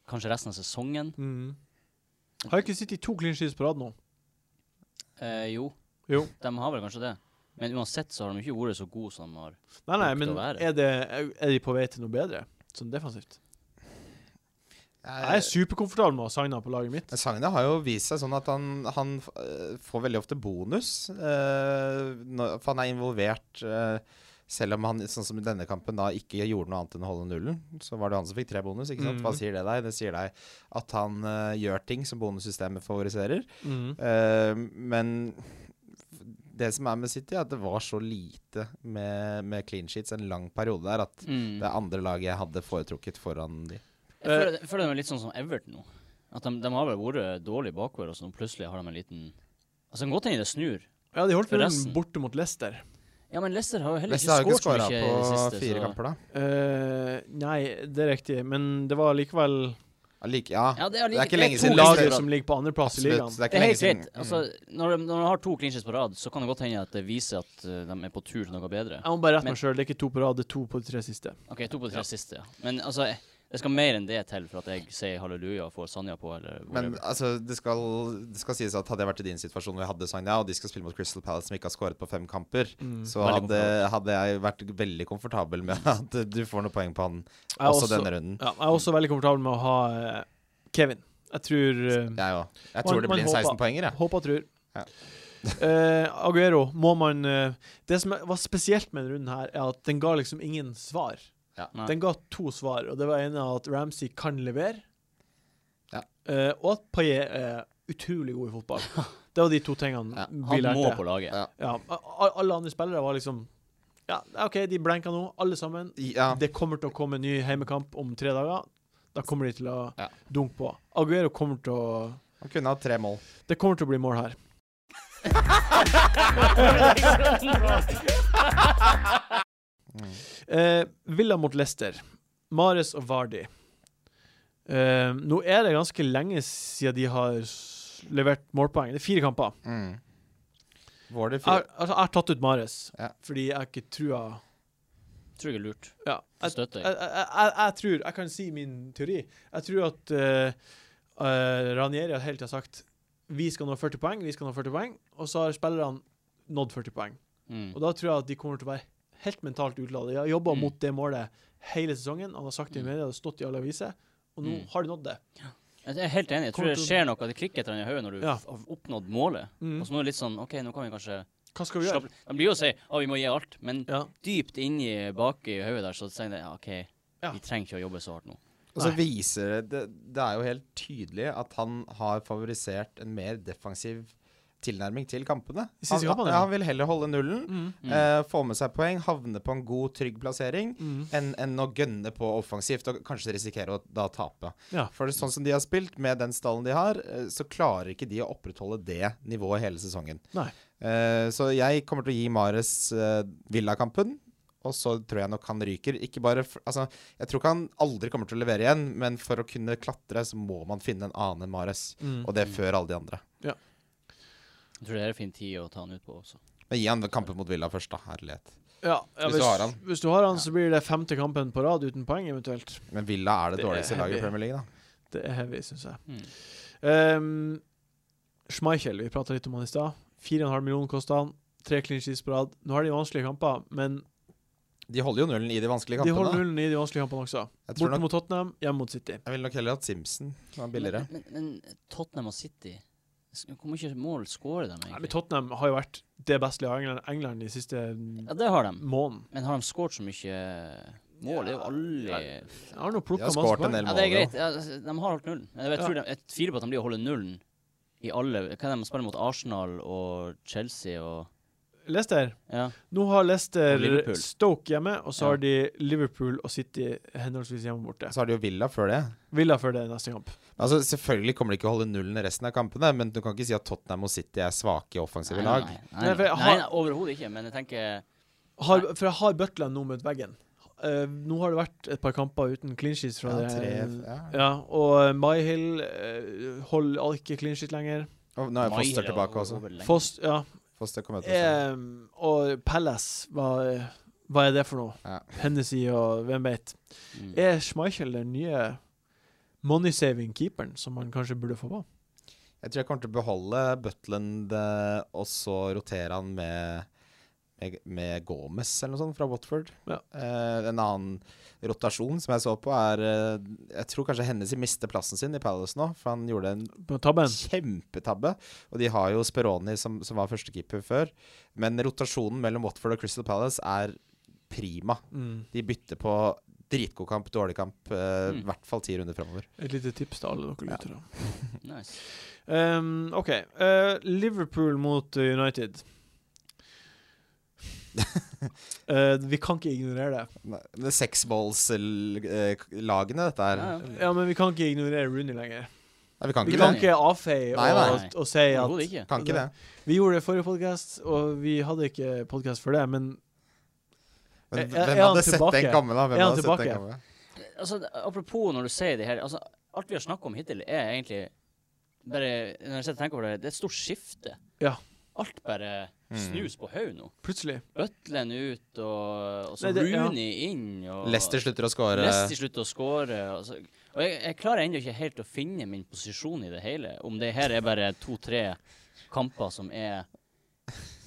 Speaker 2: kanskje resten av sesongen.
Speaker 1: Mm. Har ikke City to clean sheets på rad nå?
Speaker 2: Eh, jo,
Speaker 1: Jo.
Speaker 2: de har vel kanskje det. Men uansett så har de ikke vært så gode som de har.
Speaker 1: Nei, nei, men
Speaker 2: Lukter å være.
Speaker 1: er, det, er de på vei til noe bedre? Sånn defensivt? Jeg er
Speaker 5: Jeg,
Speaker 1: superkomfortabel med å ha Sagna på laget mitt.
Speaker 5: Sagna har jo vist seg sånn at han, han eh, får veldig ofte bonus, eh, når, for han er involvert. eh, selv om han sånn som i denne kampen da ikke gjorde noe annet enn å holde nullen, så var det han som fikk tre bonus. ikke sant? Hva
Speaker 2: Mm.
Speaker 1: Mhm.
Speaker 5: sier det deg? Det sier deg at han eh, gjør ting som bonussystemet favoriserer.
Speaker 1: Mm.
Speaker 5: Eh, men det som er med City, er at det var så lite med, med clean sheets en lang periode der at
Speaker 2: Mm.
Speaker 5: Det andre laget jeg hadde foretrukket foran de.
Speaker 2: Jeg føler, jeg føler de er litt sånn som Everton nå. At de, de har vel vært dårlige bakover, og så nå plutselig har de en liten Altså, det kan godt hende det snur.
Speaker 1: Ja, de holdt nullen
Speaker 2: Forresten.
Speaker 1: borte mot Leicester.
Speaker 2: Ja, men Leicester har jo heller
Speaker 5: Leicester har jo
Speaker 2: ikke
Speaker 5: ikke
Speaker 2: skåret
Speaker 5: skåra
Speaker 2: så mye
Speaker 5: på
Speaker 2: i det siste.
Speaker 5: fire
Speaker 2: så-
Speaker 5: kamper, da.
Speaker 1: Eh, nei, det er riktig, men det var likevel
Speaker 5: Allike, ja.
Speaker 2: Ja, det er,
Speaker 5: Det er ikke lenge
Speaker 2: to
Speaker 5: siden
Speaker 2: clean
Speaker 1: Laget
Speaker 5: laget
Speaker 2: sheets på
Speaker 1: som
Speaker 2: rad.
Speaker 1: ligger på andreplass i ligaen.
Speaker 5: Absolutt. Det er
Speaker 2: Det
Speaker 5: ikke
Speaker 2: er
Speaker 5: lenge
Speaker 2: helt
Speaker 5: siden. Mm.
Speaker 2: greit. Altså, når, de, når de har to clean sheets på rad, så kan det godt hende at det viser at eh, de er på tur til noe bedre.
Speaker 1: Jeg må bare rette
Speaker 2: Men-
Speaker 1: meg sjøl. Det er ikke to på rad, det er to på de tre siste.
Speaker 2: OK, to på tre
Speaker 1: Ja.
Speaker 2: siste, ja. Men altså, eh, det skal mer enn det til for at jeg sier halleluja og får Sanja på, eller
Speaker 5: Men
Speaker 2: whatever.
Speaker 5: altså, det skal, det skal sies at hadde jeg vært i din situasjon og jeg hadde Sagna, og de skal spille mot Crystal Palace som ikke har skåret på fem kamper,
Speaker 1: Mm.
Speaker 5: så
Speaker 2: Veldig
Speaker 5: hadde, hadde jeg vært veldig komfortabel med at du får noen poeng på han
Speaker 1: Jeg er
Speaker 5: også,
Speaker 1: også-
Speaker 5: denne runden.
Speaker 1: Ja, jeg er også veldig komfortabel med å ha eh, Kevin. Jeg tror eh,
Speaker 5: Jeg òg.
Speaker 1: Man-
Speaker 5: Jeg tror det
Speaker 1: man
Speaker 5: blir en
Speaker 1: håper.
Speaker 5: 16-poenger, jeg.
Speaker 1: Håper og tror.
Speaker 5: Ja.
Speaker 1: Eh, Aguero, må man eh, Det som er- var spesielt med denne runden, her er at den ga liksom ingen svar.
Speaker 5: Ja.
Speaker 2: Nei.
Speaker 1: Den ga to svar, og det var ene at Ramsey kan levere,
Speaker 5: Ja.
Speaker 1: eh, og at Paillet er utrolig god i fotball. Det var de to tingene
Speaker 5: Ja,
Speaker 1: vi
Speaker 2: Han må
Speaker 1: lærte.
Speaker 2: på laget.
Speaker 5: Ja.
Speaker 1: Ja, a- a- alle andre spillere var liksom Ja, OK, de blenka nå, alle sammen.
Speaker 5: Ja.
Speaker 1: Det kommer til å komme en ny heimekamp om tre dager. Da kommer de til å
Speaker 5: Ja.
Speaker 1: dunke på. Aguero kommer til å
Speaker 5: Han kunne hatt tre mål.
Speaker 1: Det kommer til å bli mål her.
Speaker 5: Mm.
Speaker 1: Eh, Villa mot Leicester. Mares og Vardi. Eh, nå er det ganske lenge siden de har s- levert målpoeng. Det er fire kamper.
Speaker 5: Mm. Var det
Speaker 1: Jeg,
Speaker 5: fire?
Speaker 1: altså, jeg har tatt ut Mares
Speaker 5: Ja.
Speaker 1: fordi jeg ikke trua
Speaker 2: Tror jeg er lurt.
Speaker 1: ja, jeg, jeg,
Speaker 2: Støtter jeg.
Speaker 1: jeg, jeg, jeg tror Jeg kan si min teori. Jeg tror at eh, eh, Ranieri har hele tida sagt vi skal nå 40 poeng, vi skal nå 40 poeng, og så har spillerne nådd 40 poeng.
Speaker 2: Mm.
Speaker 1: Og da tror jeg at de kommer til å være helt mentalt utladet. De har jobba
Speaker 2: Mm.
Speaker 1: mot det målet hele sesongen. Han har sagt det i
Speaker 2: Mm.
Speaker 1: media, det har stått i alle aviser, og nå
Speaker 2: Mm.
Speaker 1: har de nådd det.
Speaker 2: Jeg er helt enig. Jeg tror
Speaker 1: Kommer
Speaker 2: det
Speaker 1: til å-
Speaker 2: skjer noe. Det klikker etter den i hodet når du
Speaker 1: Ja.
Speaker 2: f- har oppnådd målet.
Speaker 1: Mm.
Speaker 2: Og så må du litt sånn OK, nå kan vi kanskje
Speaker 1: Hva skal vi gjøre?
Speaker 2: slappe De blir jo å si å, vi må gi alt, men
Speaker 1: Ja.
Speaker 2: dypt inni baki i hodet der, så sier de ja, OK,
Speaker 1: Ja.
Speaker 2: vi trenger ikke å jobbe så hardt nå.
Speaker 5: Og så
Speaker 1: Nei.
Speaker 5: Altså, viser det, det Det er jo helt tydelig at han har favorisert en mer defensiv tilnærming til kampene.
Speaker 1: De siste kampene,
Speaker 5: Han, han,
Speaker 1: ja.
Speaker 5: han vil heller holde nullen,
Speaker 1: Mm.
Speaker 2: Mm.
Speaker 5: eh, få med seg poeng, havne på en god, trygg plassering.
Speaker 1: Mm.
Speaker 5: enn enn å gønne på offensivt og kanskje risikere å da tape.
Speaker 1: Ja.
Speaker 5: For det er sånn som de har spilt, med den stallen de har, eh, så klarer ikke de å opprettholde det nivået hele sesongen.
Speaker 1: Nei.
Speaker 5: Eh, Så jeg kommer til å gi Mares eh, Villa-kampen. Og så tror jeg nok han ryker. Ikke bare f- altså, jeg tror ikke han aldri kommer til å levere igjen, men for å kunne klatre, så må man finne en annen enn Mares.
Speaker 1: Mm.
Speaker 5: Og det før alle de andre.
Speaker 2: Jeg tror det er en fin tid å ta han ut på også.
Speaker 5: Men gi han kampen mot Villa først, da. Herlighet.
Speaker 1: Ja, ja,
Speaker 5: Hvis du har han.
Speaker 1: Hvis du har han, så blir det femte kampen på rad uten poeng, eventuelt.
Speaker 5: Men Villa er det,
Speaker 1: Det er
Speaker 5: dårligste laget
Speaker 1: heavy.
Speaker 5: i Premier League, da.
Speaker 1: Det er heavy, syns jeg.
Speaker 2: Mm.
Speaker 1: Um, Schmeichel, vi prata litt om han i stad. 4,5 millioner kosta han. Tre clean sheets på rad. Nå har de vanskelige kamper, men
Speaker 5: De holder jo nullen i de vanskelige
Speaker 1: de holder
Speaker 5: kampene.
Speaker 1: nullen i de vanskelige kampene også.
Speaker 5: Jeg tror
Speaker 1: Borte
Speaker 5: nok-
Speaker 1: mot Tottenham, hjemme mot City.
Speaker 5: Jeg ville nok heller hatt Simpson. Det var billigere.
Speaker 2: Men, men, men Tottenham og City s- Hvor mye mål skårer de
Speaker 1: Nei, men
Speaker 2: egentlig?
Speaker 1: Tottenham har jo vært det beste laget i England, England de siste mm,
Speaker 2: Ja, det har de.
Speaker 1: måneden.
Speaker 2: Men har de skåret så mye mål? Det er jo aldri
Speaker 1: Ja. Jeg har nå
Speaker 5: De har
Speaker 1: plukka masse
Speaker 5: skåret en
Speaker 1: poeng.
Speaker 5: del
Speaker 2: Ja,
Speaker 5: mål.
Speaker 2: det er
Speaker 5: jo.
Speaker 2: greit. Ja, altså, de har holdt nullen. Men Jeg, tror de, jeg tviler på at de blir å holde nullen i alle Hva er det de spiller mot Arsenal og Chelsea og
Speaker 1: Leicester.
Speaker 2: Ja.
Speaker 1: Nå har Leicester
Speaker 2: Og Liverpool.
Speaker 1: Stoke hjemme, og så
Speaker 2: Ja.
Speaker 1: har de Liverpool og City henholdsvis hjemme borte.
Speaker 5: Så har de jo Villa før det.
Speaker 1: Villa før det neste kamp.
Speaker 5: Altså, Selvfølgelig kommer de ikke å holde nullen i resten av kampene, men du kan ikke si at Tottenham og City er svake i offensive
Speaker 2: Nei,
Speaker 5: lag.
Speaker 2: Nei,
Speaker 1: Nei,
Speaker 2: nei,
Speaker 1: for
Speaker 2: nei,
Speaker 1: jeg
Speaker 2: nei,
Speaker 1: har-
Speaker 2: nei overhodet ikke. Men jeg tenker
Speaker 1: Har, for jeg har Butland nå mot veggen. Eh, nå har det vært et par kamper uten clean sheets fra
Speaker 5: Ja,
Speaker 1: det.
Speaker 5: tre, ja.
Speaker 1: Ja, og eh, Myhill uh, holder ikke clean sheet lenger.
Speaker 5: Og nå er Foster tilbake også.
Speaker 1: Foss, ja.
Speaker 5: Foster kommer til å
Speaker 1: Eh, og Palace, hva, hva er det for noe?
Speaker 5: Ja.
Speaker 1: Hennessy og hvem vet.
Speaker 2: Mm.
Speaker 1: Er Schmeichel den nye money-saving-keeperen som man kanskje burde få på?
Speaker 5: Jeg tror jeg kommer til å beholde Butland eh, og så rotere han med, med, med Gomez eller noe sånt fra Watford.
Speaker 1: Ja.
Speaker 5: Eh, en annen rotasjon som jeg så på, er eh, Jeg tror kanskje Hennessy mister plassen sin i Palace nå, for han gjorde en
Speaker 1: På tabben?
Speaker 5: Kjempetabbe. Og de har jo Speroni, som, som var førstekeeper før. Men rotasjonen mellom Watford og Crystal Palace er prima.
Speaker 1: Mm.
Speaker 5: De bytter på dritgod kamp, dårlig kamp, eh, i
Speaker 2: Mm.
Speaker 5: hvert fall ti runder framover.
Speaker 1: Et lite tips til alle dere
Speaker 5: Ja.
Speaker 1: lyttere.
Speaker 2: Nice.
Speaker 1: Ehm, OK. Eh, Liverpool mot eh, United. Eh, vi kan ikke ignorere det.
Speaker 5: Det er sexballs-lagene, dette
Speaker 2: Ja,
Speaker 5: her.
Speaker 2: ja.
Speaker 1: Ja, Men vi kan ikke ignorere Rooney lenger.
Speaker 5: Nei, vi kan
Speaker 1: Vi
Speaker 5: ikke
Speaker 1: kan
Speaker 5: det.
Speaker 1: ikke avfeie
Speaker 5: Nei,
Speaker 1: og,
Speaker 2: nei.
Speaker 1: og si
Speaker 2: Overhodet
Speaker 1: at
Speaker 2: ikke.
Speaker 5: Kan ikke det.
Speaker 1: Vi gjorde det i forrige podkast, og vi hadde ikke podkast for det, men Er- er
Speaker 5: Men hvem
Speaker 1: han
Speaker 5: hadde sett
Speaker 1: tilbake?
Speaker 5: den komme, da? Hvem
Speaker 1: Er han
Speaker 5: hadde sett den
Speaker 1: tilbake?
Speaker 5: komme?
Speaker 2: Altså, apropos når du sier det her altså, alt vi har snakket om hittil, er egentlig bare Når jeg sitter og tenker over det, det er et stort skifte.
Speaker 1: Ja.
Speaker 2: Alt bare snus på hodet nå.
Speaker 1: Plutselig.
Speaker 2: Butlen ut, og, og så
Speaker 1: Nei, det- ja.
Speaker 2: Rooney inn. Og
Speaker 5: Leicester slutter å score.
Speaker 2: Leicester slutter å score. Og, så, og jeg, jeg klarer ennå ikke helt å finne min posisjon i det hele. Om det her er bare to-tre kamper som er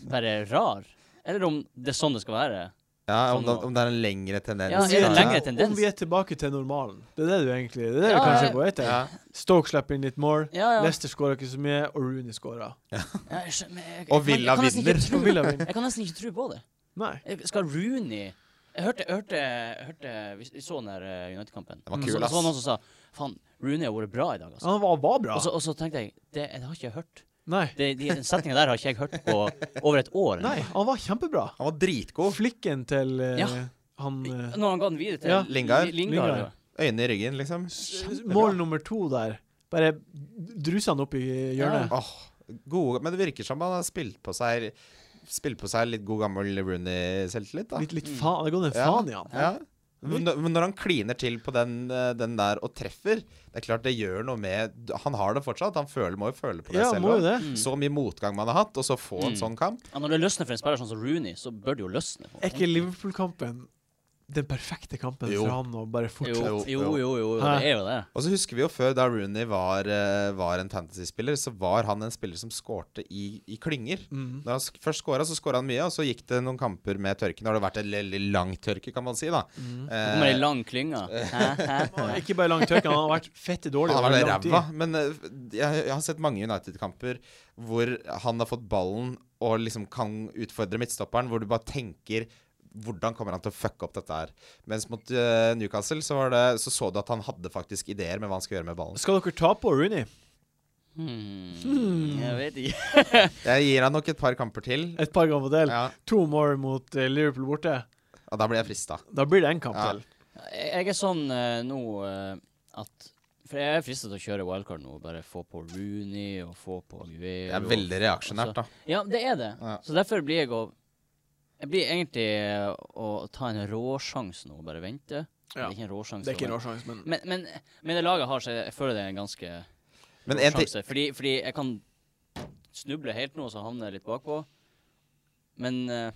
Speaker 2: bare rar, eller om det er sånn det skal være.
Speaker 5: Ja, om
Speaker 2: Sånn
Speaker 5: det,
Speaker 2: nå.
Speaker 5: om det er en lengre tendens.
Speaker 2: Ja, er det en lengre
Speaker 5: ja.
Speaker 2: tendens?
Speaker 1: Om vi er tilbake til normalen. Det er det du egentlig Det er det
Speaker 2: Ja,
Speaker 1: du kanskje
Speaker 2: jeg-
Speaker 1: er på vei til.
Speaker 5: Ja.
Speaker 1: Stoke slipper inn litt mål.
Speaker 2: Ja, ja.
Speaker 1: Leicester skårer ikke så mye, og Rooney skårer.
Speaker 2: Ja, jeg skjønner- men jeg- jeg
Speaker 5: Og
Speaker 2: kan- jeg
Speaker 5: Villa
Speaker 2: kan nesten ikke
Speaker 5: vinner.
Speaker 2: tro-
Speaker 1: Og Villa vinner.
Speaker 2: Jeg kan nesten ikke tro på det.
Speaker 1: Nei.
Speaker 2: Jeg- Skal Rooney Jeg hørte, jeg hørte, jeg hørte Vi vi så den der eh, United-kampen.
Speaker 5: Den var
Speaker 2: Og
Speaker 5: kul,
Speaker 2: så, så var det
Speaker 5: ass.
Speaker 2: noen som sa Faen, Rooney har vært bra i dag, altså.
Speaker 1: Han var, var bra.
Speaker 2: Og, så, og så tenkte jeg Det, det har ikke jeg hørt.
Speaker 1: Nei.
Speaker 2: Det, de, den setninga der har ikke jeg hørt på over et år. eller
Speaker 1: Nei,
Speaker 2: noe.
Speaker 1: han var kjempebra.
Speaker 5: Han var dritgod.
Speaker 1: Flikken til eh,
Speaker 2: Ja.
Speaker 1: han eh,
Speaker 2: Når han ga den videre til
Speaker 1: Ja.
Speaker 5: Lingard.
Speaker 2: Li- Lingard.
Speaker 1: Lingard.
Speaker 2: ja.
Speaker 5: Øynene i ryggen, liksom.
Speaker 1: Mål nummer to der. Bare druser han opp i hjørnet.
Speaker 5: Åh, gode, men det virker som han har spilt på seg Spilt på seg litt god gammel Rooney-selvtillit, da.
Speaker 1: Litt, litt
Speaker 2: Mm.
Speaker 1: faen. Det går en faen i han.
Speaker 5: Ja. Men når- men når han kliner til på den, eh, den der og treffer Det er klart det gjør noe med Han har det fortsatt. Han føler, må jo føle på det
Speaker 1: Ja,
Speaker 5: selv.
Speaker 1: må jo
Speaker 5: også.
Speaker 1: det. Mm.
Speaker 5: Så mye motgang man har hatt, og så få en sånn kamp.
Speaker 2: Mm. Ja, når det løsner for en spiller sånn som Rooney, så bør det jo løsne. på en
Speaker 1: Er
Speaker 2: måte.
Speaker 1: ikke Liverpool-kampen den perfekte kampen
Speaker 5: Jo.
Speaker 1: for han å bare
Speaker 2: Jo,
Speaker 1: fortsette?
Speaker 2: jo, jo, jo, jo,
Speaker 1: Hæ?
Speaker 2: det er jo det.
Speaker 5: Og så husker vi jo før, da Rooney var, eh, var en fantasy-spiller, så var han en spiller som skårte i, i klynger.
Speaker 1: Mm.
Speaker 5: Når han sk først skåra, så skåra han mye, og så gikk det noen kamper med tørke. Nå har det vært en veldig lang tørke, kan man si, da.
Speaker 1: Mm.
Speaker 2: Det kommer ei
Speaker 5: Eh,
Speaker 2: lang klynge. Hæ? Hæ?
Speaker 1: Og Ikke bare langt tørke, han har vært fette dårlig
Speaker 5: han
Speaker 1: over
Speaker 5: var det
Speaker 1: lang tid.
Speaker 5: ræva, men eh, jeg, jeg har sett mange United-kamper hvor han har fått ballen og liksom kan utfordre midtstopperen, hvor du bare tenker hvordan kommer han til å fucke opp dette her? Mens mot eh, Newcastle så, var det, så så du at han hadde faktisk ideer med hva han skulle gjøre med ballen.
Speaker 1: Skal dere ta på Rooney?
Speaker 2: Hmm. Jeg vet ikke.
Speaker 5: Jeg gir han nok et par kamper til.
Speaker 1: Et par ganger på del.
Speaker 5: Ja,
Speaker 1: To more mot eh, Liverpool borte.
Speaker 5: og da blir jeg frista.
Speaker 1: Da blir det en kamp
Speaker 5: Ja.
Speaker 1: til.
Speaker 2: Jeg jeg er sånn eh, nå eh, at For jeg er fristet til å kjøre wildcard nå. Bare få på Rooney og få på Aguero.
Speaker 5: Det er veldig reaksjonært, da.
Speaker 2: Ja, det er det.
Speaker 5: Ja.
Speaker 2: Så derfor blir jeg å Jeg blir egentlig eh, å ta en råsjanse nå og bare vente. Det
Speaker 1: Ja.
Speaker 2: er ikke en råsjanse.
Speaker 1: Det er ikke en
Speaker 2: å
Speaker 1: rå sjanse, men
Speaker 2: vente. Men, men, men det laget har seg Jeg føler det er en ganske
Speaker 5: Men
Speaker 2: rå
Speaker 5: en ting
Speaker 2: sjanse. Fordi, fordi jeg kan snuble helt nå, og så havner jeg litt bakpå. Men eh,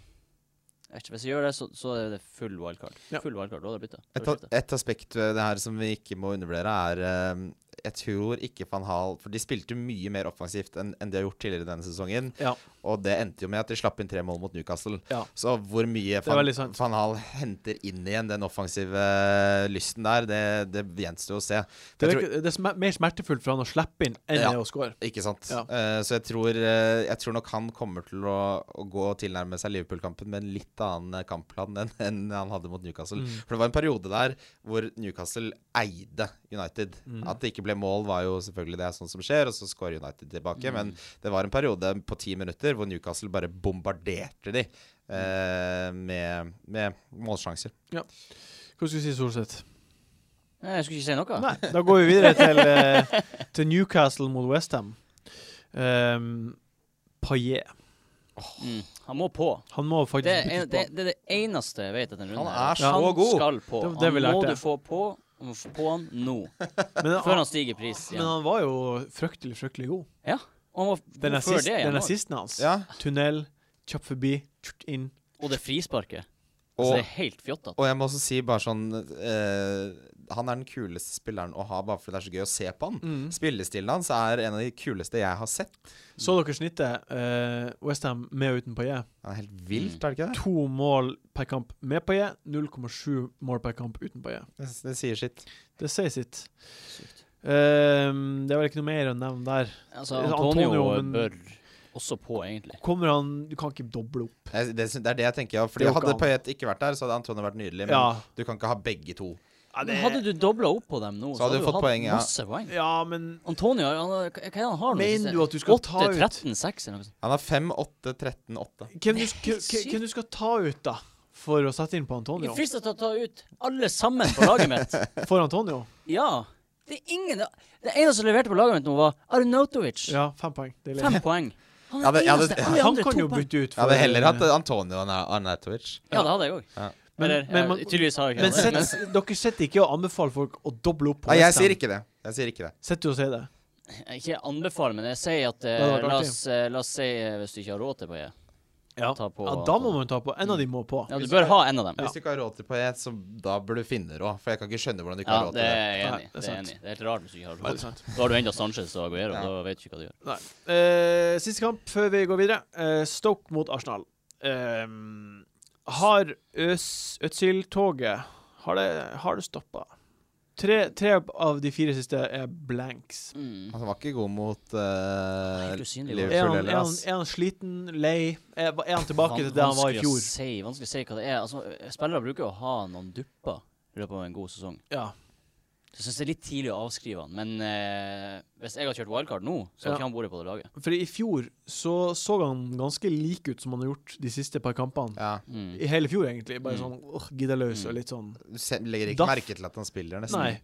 Speaker 2: jeg vet ikke, hvis jeg gjør det, så, så er det full wildcard.
Speaker 1: Ja.
Speaker 2: Full wildcard, da er det bytte. Da er
Speaker 5: Et,
Speaker 2: det bytte.
Speaker 5: et aspekt ved det her som vi ikke må undervurdere, er eh, Jeg tror ikke Van Hal For de spilte mye mer offensivt enn enn de har gjort tidligere denne sesongen.
Speaker 1: Ja.
Speaker 5: Og det endte jo med at de slapp inn tre mål mot Newcastle.
Speaker 1: Ja.
Speaker 5: Så hvor mye
Speaker 1: er
Speaker 5: Van,
Speaker 1: veldig sant.
Speaker 5: Van Hal henter inn igjen den offensive eh, lysten der, det, det gjenstår å se.
Speaker 1: det
Speaker 5: Jeg
Speaker 1: er,
Speaker 5: tror,
Speaker 1: ikke, det er smer- mer smertefullt for han å slippe inn enn
Speaker 5: Ja.
Speaker 1: det å score.
Speaker 5: ikke sant.
Speaker 1: Ja.
Speaker 5: Eh, så jeg tror, eh, jeg tror nok han kommer til å, å gå og tilnærme seg Liverpool-kampen med en litt annen eh, kampplan enn enn han hadde mot Newcastle. For det var en periode der hvor Newcastle eide United. At det ikke ble mål, var jo selvfølgelig det er sånn som skjer, og så skårer United tilbake. Men det var en periode på ti minutter hvor Newcastle bare bombarderte de eh, med, med målsjanser.
Speaker 1: Hva skulle du si, Solseth?
Speaker 2: Nei, jeg skulle ikke si noe.
Speaker 1: Nei, da går vi videre til, eh, til Newcastle mot Westham. Um, Paillet.
Speaker 2: Mm. Han må på.
Speaker 1: Han må faktisk
Speaker 2: Det er,
Speaker 1: byttes
Speaker 2: det,
Speaker 1: på.
Speaker 2: det er det eneste jeg vet etter denne runden.
Speaker 5: Han
Speaker 2: her.
Speaker 5: er så
Speaker 2: han
Speaker 5: god.
Speaker 2: skal på.
Speaker 1: Det- det vi
Speaker 2: han må
Speaker 1: lærte.
Speaker 2: du få på. Du må få på han nå.
Speaker 1: Men,
Speaker 2: Før
Speaker 1: han,
Speaker 2: han stiger i pris
Speaker 1: men
Speaker 2: igjen.
Speaker 1: han var jo fryktelig, fryktelig god.
Speaker 2: Ja. Og han var god
Speaker 1: Den
Speaker 2: før
Speaker 1: assist,
Speaker 2: det
Speaker 1: den
Speaker 2: igjen. også.
Speaker 1: assisten hans.
Speaker 5: Ja,
Speaker 1: Tunnel, kjapt forbi, tjort inn.
Speaker 2: Og det frisparket. Så
Speaker 5: og
Speaker 2: det er helt fjottete.
Speaker 5: Og jeg må også si bare sånn eh, Han er den kuleste spilleren å ha bare fordi det er så gøy å se på han.
Speaker 1: Mm.
Speaker 5: Spillestilen hans er en av de kuleste jeg har sett.
Speaker 1: Så dere snittet uh, Westham med og uten Paillet?
Speaker 5: Han er helt vilt, er det ikke det?
Speaker 1: To mål per kamp med Paillet, 0,7 mål per kamp uten Paillet.
Speaker 5: Det, det sier sitt.
Speaker 1: Det sier sitt.
Speaker 2: Sykt.
Speaker 1: Ehm, det er vel ikke noe mer å nevne der.
Speaker 2: Altså,
Speaker 1: det er
Speaker 2: Antonio,
Speaker 1: Antonio, men-
Speaker 2: bør også på, egentlig.
Speaker 1: Kommer han Du kan ikke doble opp.
Speaker 5: Jeg, det, sy- det er det jeg tenker. Ja.
Speaker 1: Det
Speaker 5: Fordi
Speaker 1: er jo ikke
Speaker 5: Hadde
Speaker 1: han.
Speaker 5: Payet ikke vært der, så hadde Antonio vært nydelig. Men
Speaker 1: Ja.
Speaker 5: du kan ikke ha begge to.
Speaker 2: Men hadde du dobla opp på dem nå,
Speaker 5: Så hadde du fått
Speaker 2: hatt
Speaker 5: poeng, ja.
Speaker 2: masse poeng.
Speaker 1: Ja, men
Speaker 2: Antonio, han, har- hva er det han har nå?
Speaker 1: Mener
Speaker 2: siste?
Speaker 1: du at du skal ta ut-
Speaker 2: 8-13-6 eller noe sånt?
Speaker 5: Han har 5, 8,
Speaker 1: hvem du,
Speaker 2: Det
Speaker 5: 13, 8.
Speaker 2: er helt
Speaker 1: hvem-
Speaker 2: sykt.
Speaker 1: hvem du skal ta ut, da? For å sette inn på
Speaker 2: Jeg
Speaker 1: Antonio?
Speaker 2: er fristet til å ta ut alle sammen på laget mitt.
Speaker 1: For Antonio?
Speaker 2: Ja. Det er ingen Det eneste som leverte på laget mitt nå, var Arnautovic.
Speaker 1: Ja, fem poeng. Det er
Speaker 2: Fem
Speaker 1: litt.
Speaker 2: poeng. Han
Speaker 5: Ja,
Speaker 2: er
Speaker 5: det-
Speaker 2: den
Speaker 5: ja, det-
Speaker 2: eneste. Alle
Speaker 1: Han
Speaker 2: andre
Speaker 1: kan
Speaker 2: to
Speaker 1: jo
Speaker 2: poeng.
Speaker 1: bytte ut.
Speaker 5: Jeg hadde heller hatt Antonio enn Arnautovic.
Speaker 2: Ja, det hadde jeg òg.
Speaker 5: Ja.
Speaker 1: Men-
Speaker 2: Eller,
Speaker 1: men
Speaker 2: ja,
Speaker 1: man-
Speaker 2: tydeligvis har jeg ikke
Speaker 1: Men
Speaker 2: det.
Speaker 1: sett, dere sitter ikke og anbefaler folk å doble opp på
Speaker 5: Nei, jeg
Speaker 1: West Ham.
Speaker 5: sier ikke det. Jeg sier ikke det.
Speaker 1: Sitter du og sier det?
Speaker 2: Men ikke anbefale, men jeg sier at eh,
Speaker 1: hadde vært
Speaker 2: la, oss, eh, la oss si eh, hvis du ikke har råd til paillet.
Speaker 1: Ja.
Speaker 2: Ta på,
Speaker 1: Ja, da må man ta på. En av de må på.
Speaker 2: Ja, du bør ha en av dem.
Speaker 5: Hvis du ikke har råd til paillett, så da burde du finne råd. For jeg kan ikke skjønne hvordan du ikke
Speaker 2: Ja,
Speaker 5: har råd
Speaker 2: det er
Speaker 5: til det.
Speaker 2: jeg
Speaker 1: Nei,
Speaker 2: enig i.
Speaker 1: det er
Speaker 2: Det er
Speaker 1: sant.
Speaker 2: enig. Det er helt rart hvis du ikke
Speaker 1: Ja,
Speaker 2: har
Speaker 1: det
Speaker 2: råd.
Speaker 1: er sant.
Speaker 2: Da har du enda Sanchez og Aguero,
Speaker 5: Ja.
Speaker 2: da vet du ikke hva du gjør.
Speaker 1: Nei. Eh, siste kamp før vi går videre. Eh, Stoke mot Arsenal. Eh, har Øs- Øzil-toget Har det, har det stoppa? Tre, tre av de fire siste er blanks.
Speaker 2: Mm.
Speaker 5: Altså, Han var ikke god mot eh,
Speaker 2: helt
Speaker 1: Er
Speaker 2: usynlig, var det.
Speaker 5: Liverpool
Speaker 1: han, er
Speaker 5: heller,
Speaker 1: han,
Speaker 5: ass.
Speaker 1: er han sliten, lei? Er, er han tilbake til det han var i
Speaker 2: Vanskelig å
Speaker 1: fjor?
Speaker 2: Si, vanskelig å si hva det er. Altså, spillere bruker å ha noen dupper i løpet av en god sesong.
Speaker 1: Ja.
Speaker 2: Så jeg syns det er litt tidlig å avskrive han, men eh, hvis jeg har kjørt wildcard nå, så har
Speaker 1: Ja.
Speaker 2: ikke han vært på det laget.
Speaker 1: For i fjor så så han ganske lik ut som han har gjort de siste par kampene.
Speaker 5: Ja.
Speaker 2: Mm.
Speaker 1: I hele fjor, egentlig. Bare
Speaker 2: Mm.
Speaker 1: sånn åh, giddeløs
Speaker 2: Mm.
Speaker 1: og litt sånn
Speaker 5: Du se- legger ikke
Speaker 1: Daff.
Speaker 5: merke til at han spiller, nesten.
Speaker 1: Nei.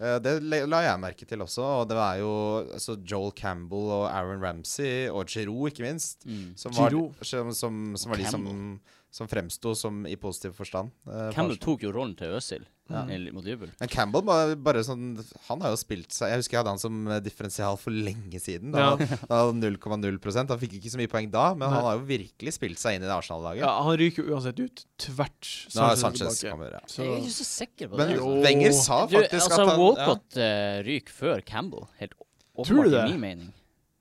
Speaker 5: Eh, Det le- la jeg merke til også, og det var jo altså Joel Campbell og Aaron Ramsey, og Giroud ikke minst,
Speaker 2: Mm.
Speaker 5: som var,
Speaker 1: Giroud.
Speaker 5: som, som, som var de som, som fremsto som i positiv forstand. eh, for
Speaker 2: Campbell
Speaker 5: Arsenal.
Speaker 2: tok jo rollen til Øzil
Speaker 5: Ja.
Speaker 2: i- mot Liverpool.
Speaker 5: Men Campbell var bare sånn Han har jo spilt seg Jeg husker jeg hadde han som eh, differensial for lenge siden. Da
Speaker 1: Ja.
Speaker 5: han- da han hadde 0,0 Han fikk ikke så mye poeng da, men
Speaker 1: Nei.
Speaker 5: han har jo virkelig spilt seg inn i det Arsenal-laget.
Speaker 1: Ja, han ryker jo uansett ut. Tvert
Speaker 5: Nå har
Speaker 1: Sanchez
Speaker 5: Sanchez
Speaker 1: tilbake.
Speaker 5: kommer, ja.
Speaker 1: Så
Speaker 2: Jeg er ikke så sikker på
Speaker 5: Men
Speaker 2: det.
Speaker 1: Jo.
Speaker 5: Wenger sa
Speaker 2: Du,
Speaker 5: faktisk
Speaker 2: altså,
Speaker 5: at han ja,
Speaker 2: Walcott eh, ryker før Campbell. Helt
Speaker 1: Tror du
Speaker 2: åpenbart, i
Speaker 1: det?
Speaker 2: min mening.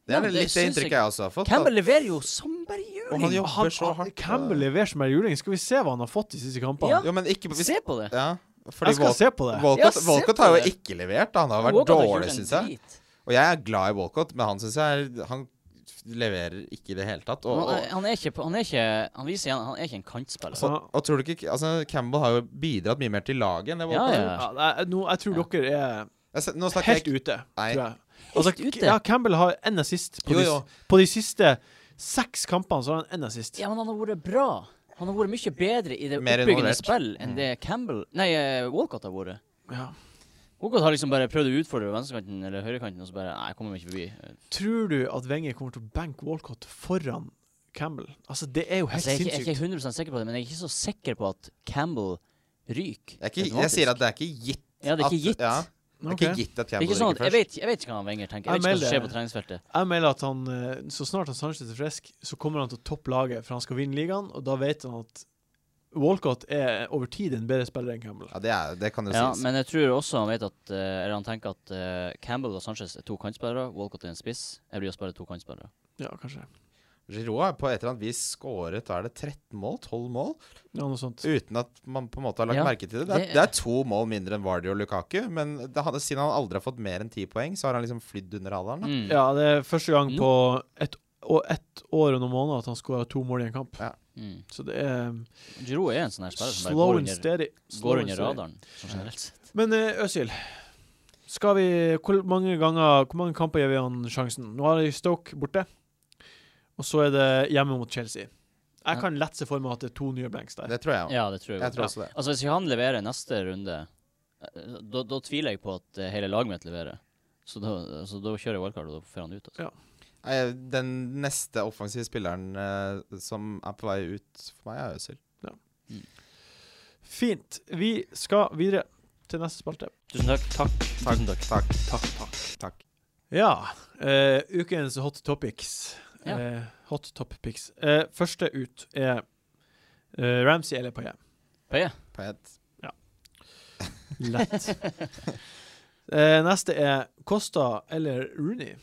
Speaker 5: Det
Speaker 2: Ja,
Speaker 5: er vel litt det
Speaker 2: syns jeg-
Speaker 5: inntrykket jeg også har fått.
Speaker 2: Campbell leverer jo som bare
Speaker 5: Og han
Speaker 2: juling!
Speaker 5: jobber
Speaker 1: han,
Speaker 5: så hardt.
Speaker 1: Campbell leverer som ei juling. Skal vi se hva han har fått de siste kampene?
Speaker 2: Ja.
Speaker 5: Jo, men ikke hvis,
Speaker 2: Se på det!
Speaker 5: Ja, fordi
Speaker 1: Jeg skal
Speaker 5: Wal-
Speaker 1: se på det.
Speaker 2: Ja,
Speaker 5: Walcott,
Speaker 2: se
Speaker 5: Walcott
Speaker 2: på
Speaker 5: har jo
Speaker 2: det.
Speaker 5: ikke levert. da. Han har vært
Speaker 2: Walcott har ikke gjort
Speaker 5: dårlig,
Speaker 2: en
Speaker 5: syns jeg.
Speaker 2: drit.
Speaker 5: Og jeg er glad i Walcott, men han syns jeg er- Han leverer ikke i det hele tatt. Og,
Speaker 2: Han,
Speaker 5: og,
Speaker 2: han, er ikke, på- han er ikke Han viser igjen, han er ikke en kantspiller.
Speaker 1: Så-
Speaker 5: og, og tror du ikke altså, Campbell har jo bidratt mye mer til laget enn det Walcott
Speaker 2: Ja,
Speaker 5: har
Speaker 2: ja.
Speaker 1: Ja,
Speaker 5: gjort.
Speaker 1: nei, nå, jeg tror dere er
Speaker 5: Jeg se- Nå snakker
Speaker 1: helt
Speaker 5: jeg
Speaker 1: ute,
Speaker 5: Nei.
Speaker 1: tror jeg. Altså,
Speaker 2: Helt ute?
Speaker 1: Ja, Campbell har én assist på,
Speaker 5: Jo,
Speaker 1: de-
Speaker 5: jo.
Speaker 1: på de siste seks kampene. Så har han én assist.
Speaker 2: Ja, men han har vært bra. Han har vært mye bedre i det
Speaker 5: Mer
Speaker 2: oppbyggende
Speaker 5: involvert. Mm.
Speaker 2: spill enn det Campbell Nei, eh, Walcott har vært.
Speaker 1: Ja.
Speaker 2: Walcott har liksom bare prøvd å utfordre venstrekanten eller høyrekanten, og så bare Nei, jeg kommer meg ikke forbi. Eh,
Speaker 1: Tror du at Wenger kommer til å banke Walcott foran Campbell? Altså, det er jo helt
Speaker 2: Altså, jeg, er ikke, jeg er
Speaker 1: sinnssykt.
Speaker 2: ikke 100 sikker på det, men jeg er ikke så sikker på at Campbell ryker.
Speaker 5: Jeg, er ikke, jeg sier at det er ikke gitt.
Speaker 2: Ja, det er ikke
Speaker 5: at-
Speaker 2: gitt.
Speaker 5: ja, det er ikke
Speaker 1: Ok.
Speaker 5: gitt at
Speaker 2: Det er
Speaker 5: Campbell
Speaker 2: ikke sånn at,
Speaker 5: ryker
Speaker 2: jeg, vet,
Speaker 5: først.
Speaker 2: jeg vet ikke hva han Wenger tenker.
Speaker 1: Jeg
Speaker 2: Jeg vet ikke hva som skjer
Speaker 1: melder-
Speaker 2: på treningsfeltet.
Speaker 1: Jeg melder at han, eh, så snart han Sanchez er frisk, så kommer han til å toppe laget, for han skal vinne ligaen, og da vet han at Walcott er over tid en bedre spiller enn Campbell.
Speaker 5: Ja, det, er, det kan jo
Speaker 2: Ja,
Speaker 5: sies.
Speaker 2: men jeg tror også han vet at eh, Eller han tenker at eh, Campbell og Sanchez er to kantspillere, Walcott er en spiss. Jeg blir også bare to kantspillere.
Speaker 1: Ja, kanskje.
Speaker 5: Giroud har på et eller annet vis skåret hva er det 13 mål, 12 mål,
Speaker 1: Ja, noe sånt.
Speaker 5: uten at man på en måte har lagt
Speaker 2: Ja,
Speaker 5: merke til det. Det er,
Speaker 2: det-
Speaker 5: det er to mål mindre enn Vardy og Lukaku, men det hadde, siden han aldri har fått mer enn ti poeng, så har han liksom flydd under radaren. da.
Speaker 2: Mm.
Speaker 1: Ja, det er første gang på ett og ett år og noen måneder at han skåra to mål i en kamp.
Speaker 2: Mm.
Speaker 1: Så det er
Speaker 2: Giroud er en sånn her spiller som bare
Speaker 1: slow
Speaker 2: går
Speaker 1: and
Speaker 2: under,
Speaker 1: steady. Slow
Speaker 2: går
Speaker 1: and
Speaker 2: under
Speaker 1: steady.
Speaker 2: radaren, sånn generelt sett.
Speaker 1: Men eh, Øzil, skal vi Hvor mange ganger Hvor mange kamper gir vi han sjansen? Nå har de Stoke borte, og så er det hjemme mot Chelsea.
Speaker 2: Ja.
Speaker 1: Jeg kan lett se for meg at det er to nye blanks der.
Speaker 5: Det tror jeg òg.
Speaker 2: Ja, det tror jeg.
Speaker 5: Jeg tror
Speaker 2: også.
Speaker 5: også det.
Speaker 2: Altså, hvis han leverer neste runde, eh, da, da tviler jeg på at eh, hele laget mitt leverer. Så da, så da kjører jeg wildcard, og da får han ut. Altså.
Speaker 5: Eh, Den neste offensive spilleren eh, som er på vei ut for meg, er Øzil.
Speaker 1: Fint. Vi skal videre til neste spalte.
Speaker 2: Tusen takk. Takk. Tusen takk.
Speaker 5: Takk.
Speaker 1: Takk, takk.
Speaker 5: Takk.
Speaker 1: Ja. eh, ukens hot topics.
Speaker 2: Ja.
Speaker 1: Eh, hot topics. Eh, første ut er eh, Ramsey eller Paillet.
Speaker 2: Paye.
Speaker 5: Payet.
Speaker 1: Lett. Eh, neste er Costa eller Rooney.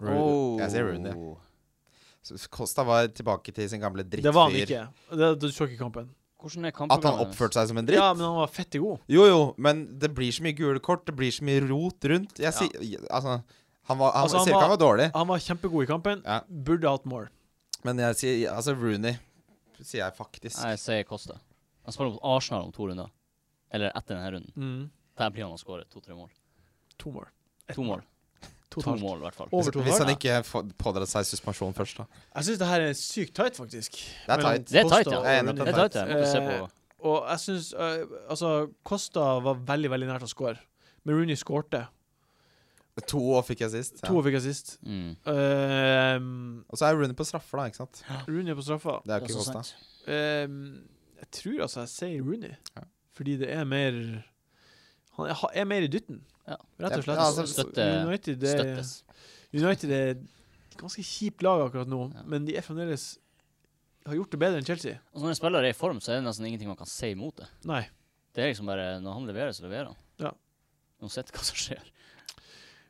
Speaker 5: Rooney.
Speaker 2: Oh.
Speaker 5: Jeg sier Rooney. Så Costa var tilbake til sin gamle drittfyr.
Speaker 1: Det var han ikke. Det, du så ikke kampen.
Speaker 2: Hvordan er
Speaker 5: At han
Speaker 2: kampprogrammet?
Speaker 5: oppførte seg som en dritt.
Speaker 1: Ja, men han var fette god.
Speaker 5: Jo, jo, men det blir så mye gule kort, det blir så mye rot rundt. Jeg sier Altså, han var han,
Speaker 1: Altså, han
Speaker 5: sier ikke han var dårlig,
Speaker 1: Han var kjempegod i kampen.
Speaker 5: Ja.
Speaker 1: Burde hatt more.
Speaker 5: men jeg sier Altså, Rooney sier jeg faktisk.
Speaker 2: Nei, jeg sier Costa. Han spiller mot Arsenal om to runder. Eller etter denne runden.
Speaker 1: Mm.
Speaker 2: Der blir han å skåre to-tre mål.
Speaker 1: To more.
Speaker 2: To mål.
Speaker 1: To
Speaker 2: To,
Speaker 1: totalt.
Speaker 2: mål, i hvert fall.
Speaker 1: Og-
Speaker 5: Hvis,
Speaker 1: Over to
Speaker 5: hvis
Speaker 1: dager,
Speaker 5: han ikke får- pådrar seg suspensjon først, da.
Speaker 1: Jeg syns det her er sykt tight, faktisk.
Speaker 5: Det er
Speaker 1: Mellom
Speaker 5: tight.
Speaker 2: Det er tight,
Speaker 1: Costa
Speaker 2: ja.
Speaker 1: og
Speaker 5: Jeg er enig i
Speaker 1: Rooney.
Speaker 2: Det
Speaker 5: at
Speaker 2: er tight, det. Jeg Måtte se
Speaker 1: Eh,
Speaker 2: på.
Speaker 1: Og jeg syns Altså, Costa var veldig, veldig nær til å score, men Rooney skårte.
Speaker 5: To år fikk jeg sist. Ja.
Speaker 1: To fikk assist.
Speaker 2: Mm.
Speaker 1: Um,
Speaker 5: Og så er Rooney på straffer, da, ikke sant.
Speaker 1: Rooney på straffa.
Speaker 5: Det er jo ikke
Speaker 2: så
Speaker 5: Costa.
Speaker 2: sant.
Speaker 1: Um, Jeg tror altså jeg sier Rooney,
Speaker 5: Ja.
Speaker 1: fordi det er mer Han er, er mer i dytten,
Speaker 2: Ja.
Speaker 1: rett og slett.
Speaker 5: Ja, altså,
Speaker 2: støtte-
Speaker 1: United, det,
Speaker 2: Støttes.
Speaker 1: United er et ganske kjipt lag akkurat nå,
Speaker 2: Ja.
Speaker 1: men de er fremdeles har gjort det bedre enn Chelsea.
Speaker 2: Og så Altså, når en spiller er i form, så er det nesten ingenting man kan si imot det.
Speaker 1: Nei.
Speaker 2: Det er liksom bare Når han leverer, så leverer han.
Speaker 1: Ja.
Speaker 2: Uansett hva som skjer.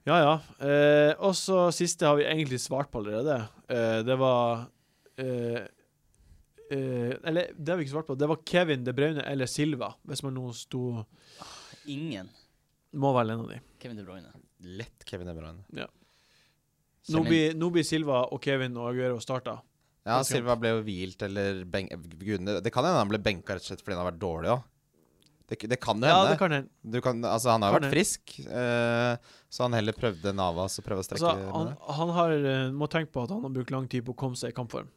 Speaker 1: Ja, ja. Eh, og så siste har vi egentlig svart på allerede. Eh, det var eh, eh, Eller, det har vi ikke svart på. Det var Kevin De Bruyne eller Silva, hvis man nå sto
Speaker 2: Ingen
Speaker 1: Må være en av de.
Speaker 2: Kevin De Bruyne.
Speaker 5: Lett Kevin De Bruyne.
Speaker 1: Nå
Speaker 2: Selv
Speaker 1: blir, nå blir Silva og Kevin og Aguero starta.
Speaker 5: Ja,
Speaker 1: Ganske
Speaker 5: Silva ble jo hvilt eller ben Gudene Det kan hende han ble benka rett og slett fordi han har vært dårlig òg. Det, det kan jo
Speaker 1: Ja,
Speaker 5: hende.
Speaker 1: det kan hende.
Speaker 5: Du kan, altså, han har jo
Speaker 1: Kan
Speaker 5: vært frisk, eh, så han heller prøvde Navas å prøve å strekke
Speaker 1: Altså,
Speaker 5: med
Speaker 1: han,
Speaker 5: det.
Speaker 1: han har, eh, må tenke på at han har brukt lang tid på å komme seg i kampform.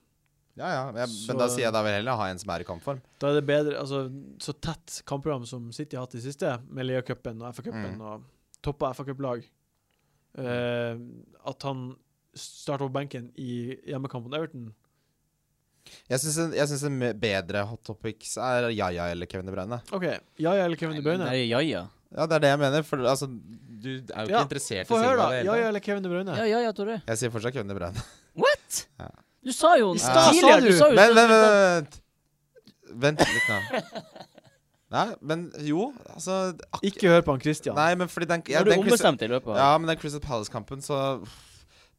Speaker 5: Ja, ja, men jeg,
Speaker 1: så-
Speaker 5: men da sier jeg da vil jeg heller ha en som er i kampform.
Speaker 1: Da er det bedre altså, Så tett kampprogram som City har hatt i siste, med Lea-cupen og FA-cupen
Speaker 5: Mm.
Speaker 1: og toppa FA-cuplag eh, At han starter på benken i hjemmekampen Everton
Speaker 5: Jeg syns en, jeg synes en me- bedre hot topics er Jaja eller Kevin De Bruyne.
Speaker 1: OK. Jaja eller Kevin De Bruyne?
Speaker 2: Nei, Jaja.
Speaker 5: Ja, det er det jeg mener, for altså Du er jo ikke
Speaker 1: Ja,
Speaker 5: interessert i
Speaker 1: Få
Speaker 5: Silva.
Speaker 1: høre, da.
Speaker 5: i det hele
Speaker 1: Jaja
Speaker 5: tatt.
Speaker 1: eller Kevin De Bruyne?
Speaker 2: Ja, Jaja, Tore.
Speaker 5: Jeg sier fortsatt Kevin De Bruyne.
Speaker 2: What?!
Speaker 5: Ja.
Speaker 2: Du sa jo
Speaker 1: I stad sa
Speaker 2: tidligere,
Speaker 1: du-
Speaker 2: sa jo
Speaker 5: Men,
Speaker 2: sånn-
Speaker 5: vent, vent, vent. Vent litt nå. Nei, men jo, altså ak
Speaker 1: Ikke hør på han Christian.
Speaker 5: Nei, men fordi den, ja,
Speaker 2: Når du
Speaker 5: den Crystal-
Speaker 2: ombestemte i løpet av
Speaker 5: Ja, men den Crystal Palace-kampen, så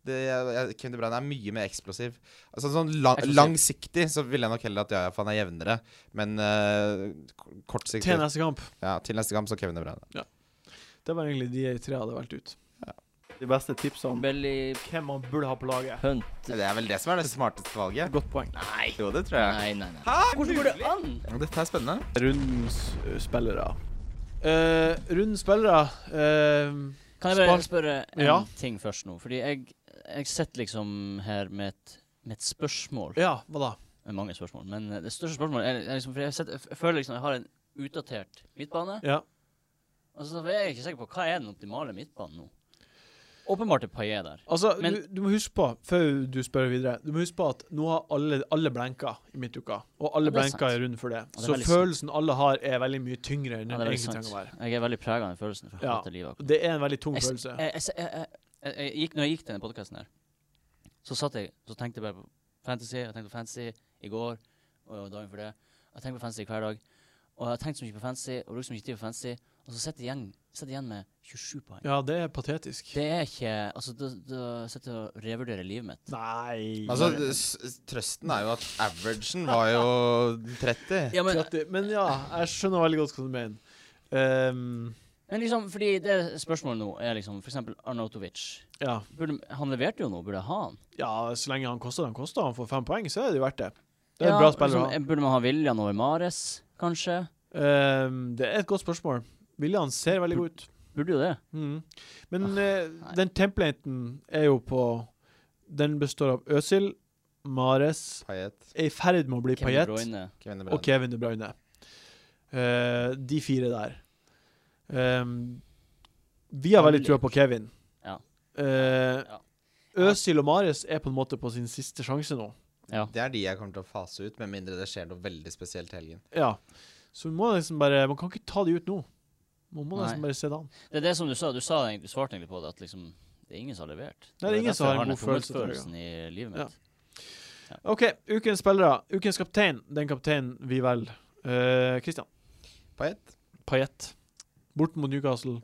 Speaker 5: det, jeg, jeg- Kevin De Bruyne er mye mer eksplosiv. Altså sånn lang,
Speaker 2: Eksplosiv.
Speaker 5: Langsiktig så ville jeg nok heller at Jaja Fan er jevnere, men eh, k- kortsiktig
Speaker 1: Til neste kamp.
Speaker 5: Ja, til neste kamp så Kevin De Bruyne.
Speaker 1: Det var egentlig de jeg tre hadde valgt ut.
Speaker 4: De beste tipsene om
Speaker 2: Belly
Speaker 1: Hvem man burde ha på laget.
Speaker 2: Hunt
Speaker 5: Det er vel det som er det smarteste valget.
Speaker 1: Godt poeng.
Speaker 5: Nei. Jo, det tror jeg.
Speaker 2: Nei, nei, nei. Hvordan går det an?
Speaker 5: Dette er spennende.
Speaker 4: rundens eh, spillere.
Speaker 1: Eh, Rundens spillere eh,
Speaker 2: Kan jeg bare
Speaker 1: Spar-
Speaker 2: spørre en
Speaker 1: Ja.
Speaker 2: ting først nå? Fordi jeg, jeg sitter liksom her med et, med et spørsmål.
Speaker 1: Ja, hva da?
Speaker 2: Med mange spørsmål. Men eh, det største spørsmålet er, er liksom For jeg, setter, jeg føler liksom jeg har en utdatert midtbane.
Speaker 1: Ja.
Speaker 2: Altså, for jeg er ikke sikker på hva er den optimale midtbanen nå. Åpenbart er Paillet der.
Speaker 1: Altså,
Speaker 2: Men-
Speaker 1: du, du må huske på, før du spør videre, du må huske på at nå har alle, alle blenka i midtuka, og alle
Speaker 2: Ja, det er
Speaker 1: blenka
Speaker 2: sant.
Speaker 1: er rundt for det.
Speaker 2: det er
Speaker 1: så
Speaker 2: veldig
Speaker 1: følelsen alle har, er veldig mye tyngre enn
Speaker 2: Ja,
Speaker 1: den
Speaker 2: det er veldig
Speaker 1: egentlig trenger å være.
Speaker 2: sant. Jeg er veldig prega av den følelsen. fra
Speaker 1: Ja.
Speaker 2: dette livet. akkurat.
Speaker 1: Det er en veldig tung
Speaker 2: Jeg s-
Speaker 1: følelse.
Speaker 2: Jeg, jeg, s- jeg, jeg, jeg, jeg gikk, når jeg gikk til denne podkasten her, så satt jeg så tenkte jeg bare på fantasy. Jeg tenkte på fantasy i går og dagen før det. Jeg tenker på fantasy hver dag. Og jeg har tenkt så mye på fantasy og brukt så mye tid på fantasy, og så sitter jeg igjen, sitter jeg igjen med 27 poeng.
Speaker 1: Ja, det er patetisk.
Speaker 2: Det er ikke Altså, da, da sitter jeg og revurderer livet mitt.
Speaker 1: Nei
Speaker 5: Altså, s- s- trøsten er jo at averagen var jo 30.
Speaker 2: Ja, men,
Speaker 1: 30. Men ja, jeg skjønner veldig godt hva du mener. Ehm,
Speaker 2: men liksom, fordi det spørsmålet nå er liksom for eksempel Arnautovic.
Speaker 1: ja.
Speaker 2: Burde, han leverte jo nå, burde jeg ha han?
Speaker 1: ja, så lenge han koster det han koster, han får fem poeng, så er det jo verdt det. Det er
Speaker 2: Ja,
Speaker 1: en bra spiller. å ha.
Speaker 2: liksom, Burde man ha William over Mares, kanskje?
Speaker 1: Ehm, det er et godt spørsmål. William ser veldig god ut.
Speaker 2: Burde jo det.
Speaker 1: Mm. Men
Speaker 2: Ah,
Speaker 1: eh,
Speaker 2: nei.
Speaker 1: den templaten er jo på Den består av Øsil, Mares
Speaker 5: Payet,
Speaker 1: Er i ferd med å bli
Speaker 2: Kevin
Speaker 1: Payet
Speaker 2: De Bruyne.
Speaker 5: Kevin De Bruyne.
Speaker 1: og Kevin De Bruyne. Eh, de fire der. Ehm, vi har veldig trua på Kevin.
Speaker 2: Ja.
Speaker 1: Eh,
Speaker 2: Ja.
Speaker 1: Øsil og Mares er på en måte på sin siste sjanse nå.
Speaker 2: Ja.
Speaker 5: Det er de jeg kommer til å fase ut, med mindre det skjer noe veldig spesielt til helgen.
Speaker 1: Ja. Så vi må liksom bare Man kan ikke ta de ut nå. Man må nesten
Speaker 2: Nei.
Speaker 1: bare se det an.
Speaker 2: Det er det som du sa. Du, sa, egentlig- du svarte egentlig på det, at liksom det er ingen som har levert.
Speaker 1: Nei, det er ingen som har en
Speaker 2: den
Speaker 1: god følelse,
Speaker 2: tommelfølelsen i livet mitt.
Speaker 1: Ja. OK, ukens spillere. Ukens kaptein. Den kapteinen vi velger. Eh, Christian.
Speaker 5: Payet.
Speaker 1: Payet. Bort mot Newcastle.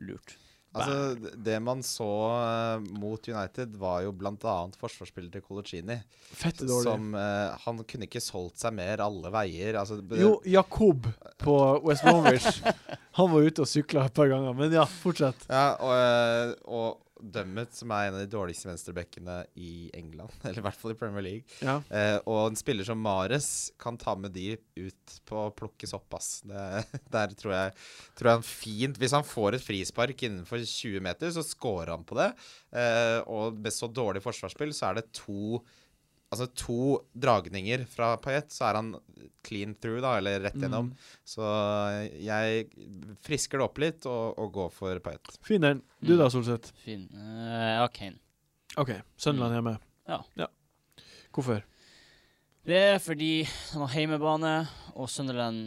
Speaker 2: Lurt.
Speaker 5: Altså, d- det man så eh, mot United, var jo bl.a. forsvarsspiller til Colicini.
Speaker 1: Fette dårlig.
Speaker 5: Som eh, Han kunne ikke solgt seg mer alle veier. Altså, b-
Speaker 1: Jo, Jakob på West Bromwich. Han var ute og sykla et par ganger, men ja, fortsett.
Speaker 5: Ja, og, eh, og Dummet, som er en av de dårligste venstrebackene i England, eller i hvert fall i Premier League,
Speaker 1: Ja.
Speaker 5: Eh, og en spiller som Mares kan ta med de ut på å plukke sopp, ass. Det, der tror jeg, tror jeg han fint Hvis han får et frispark innenfor 20 meter, så scorer han på det. Eh, og med så dårlig forsvarsspill, så er det to Altså to dragninger fra Payet, så er han clean through, da, eller rett gjennom.
Speaker 1: Mm.
Speaker 5: Så jeg frisker det opp litt og, og går for Payet.
Speaker 1: Fin den. Du da, Solseth?
Speaker 2: Fin. Eh, ja, Kane.
Speaker 1: OK, Sunderland hjemme.
Speaker 2: Ja.
Speaker 1: Hvorfor?
Speaker 2: Det er fordi de har heimebane, og Sunderland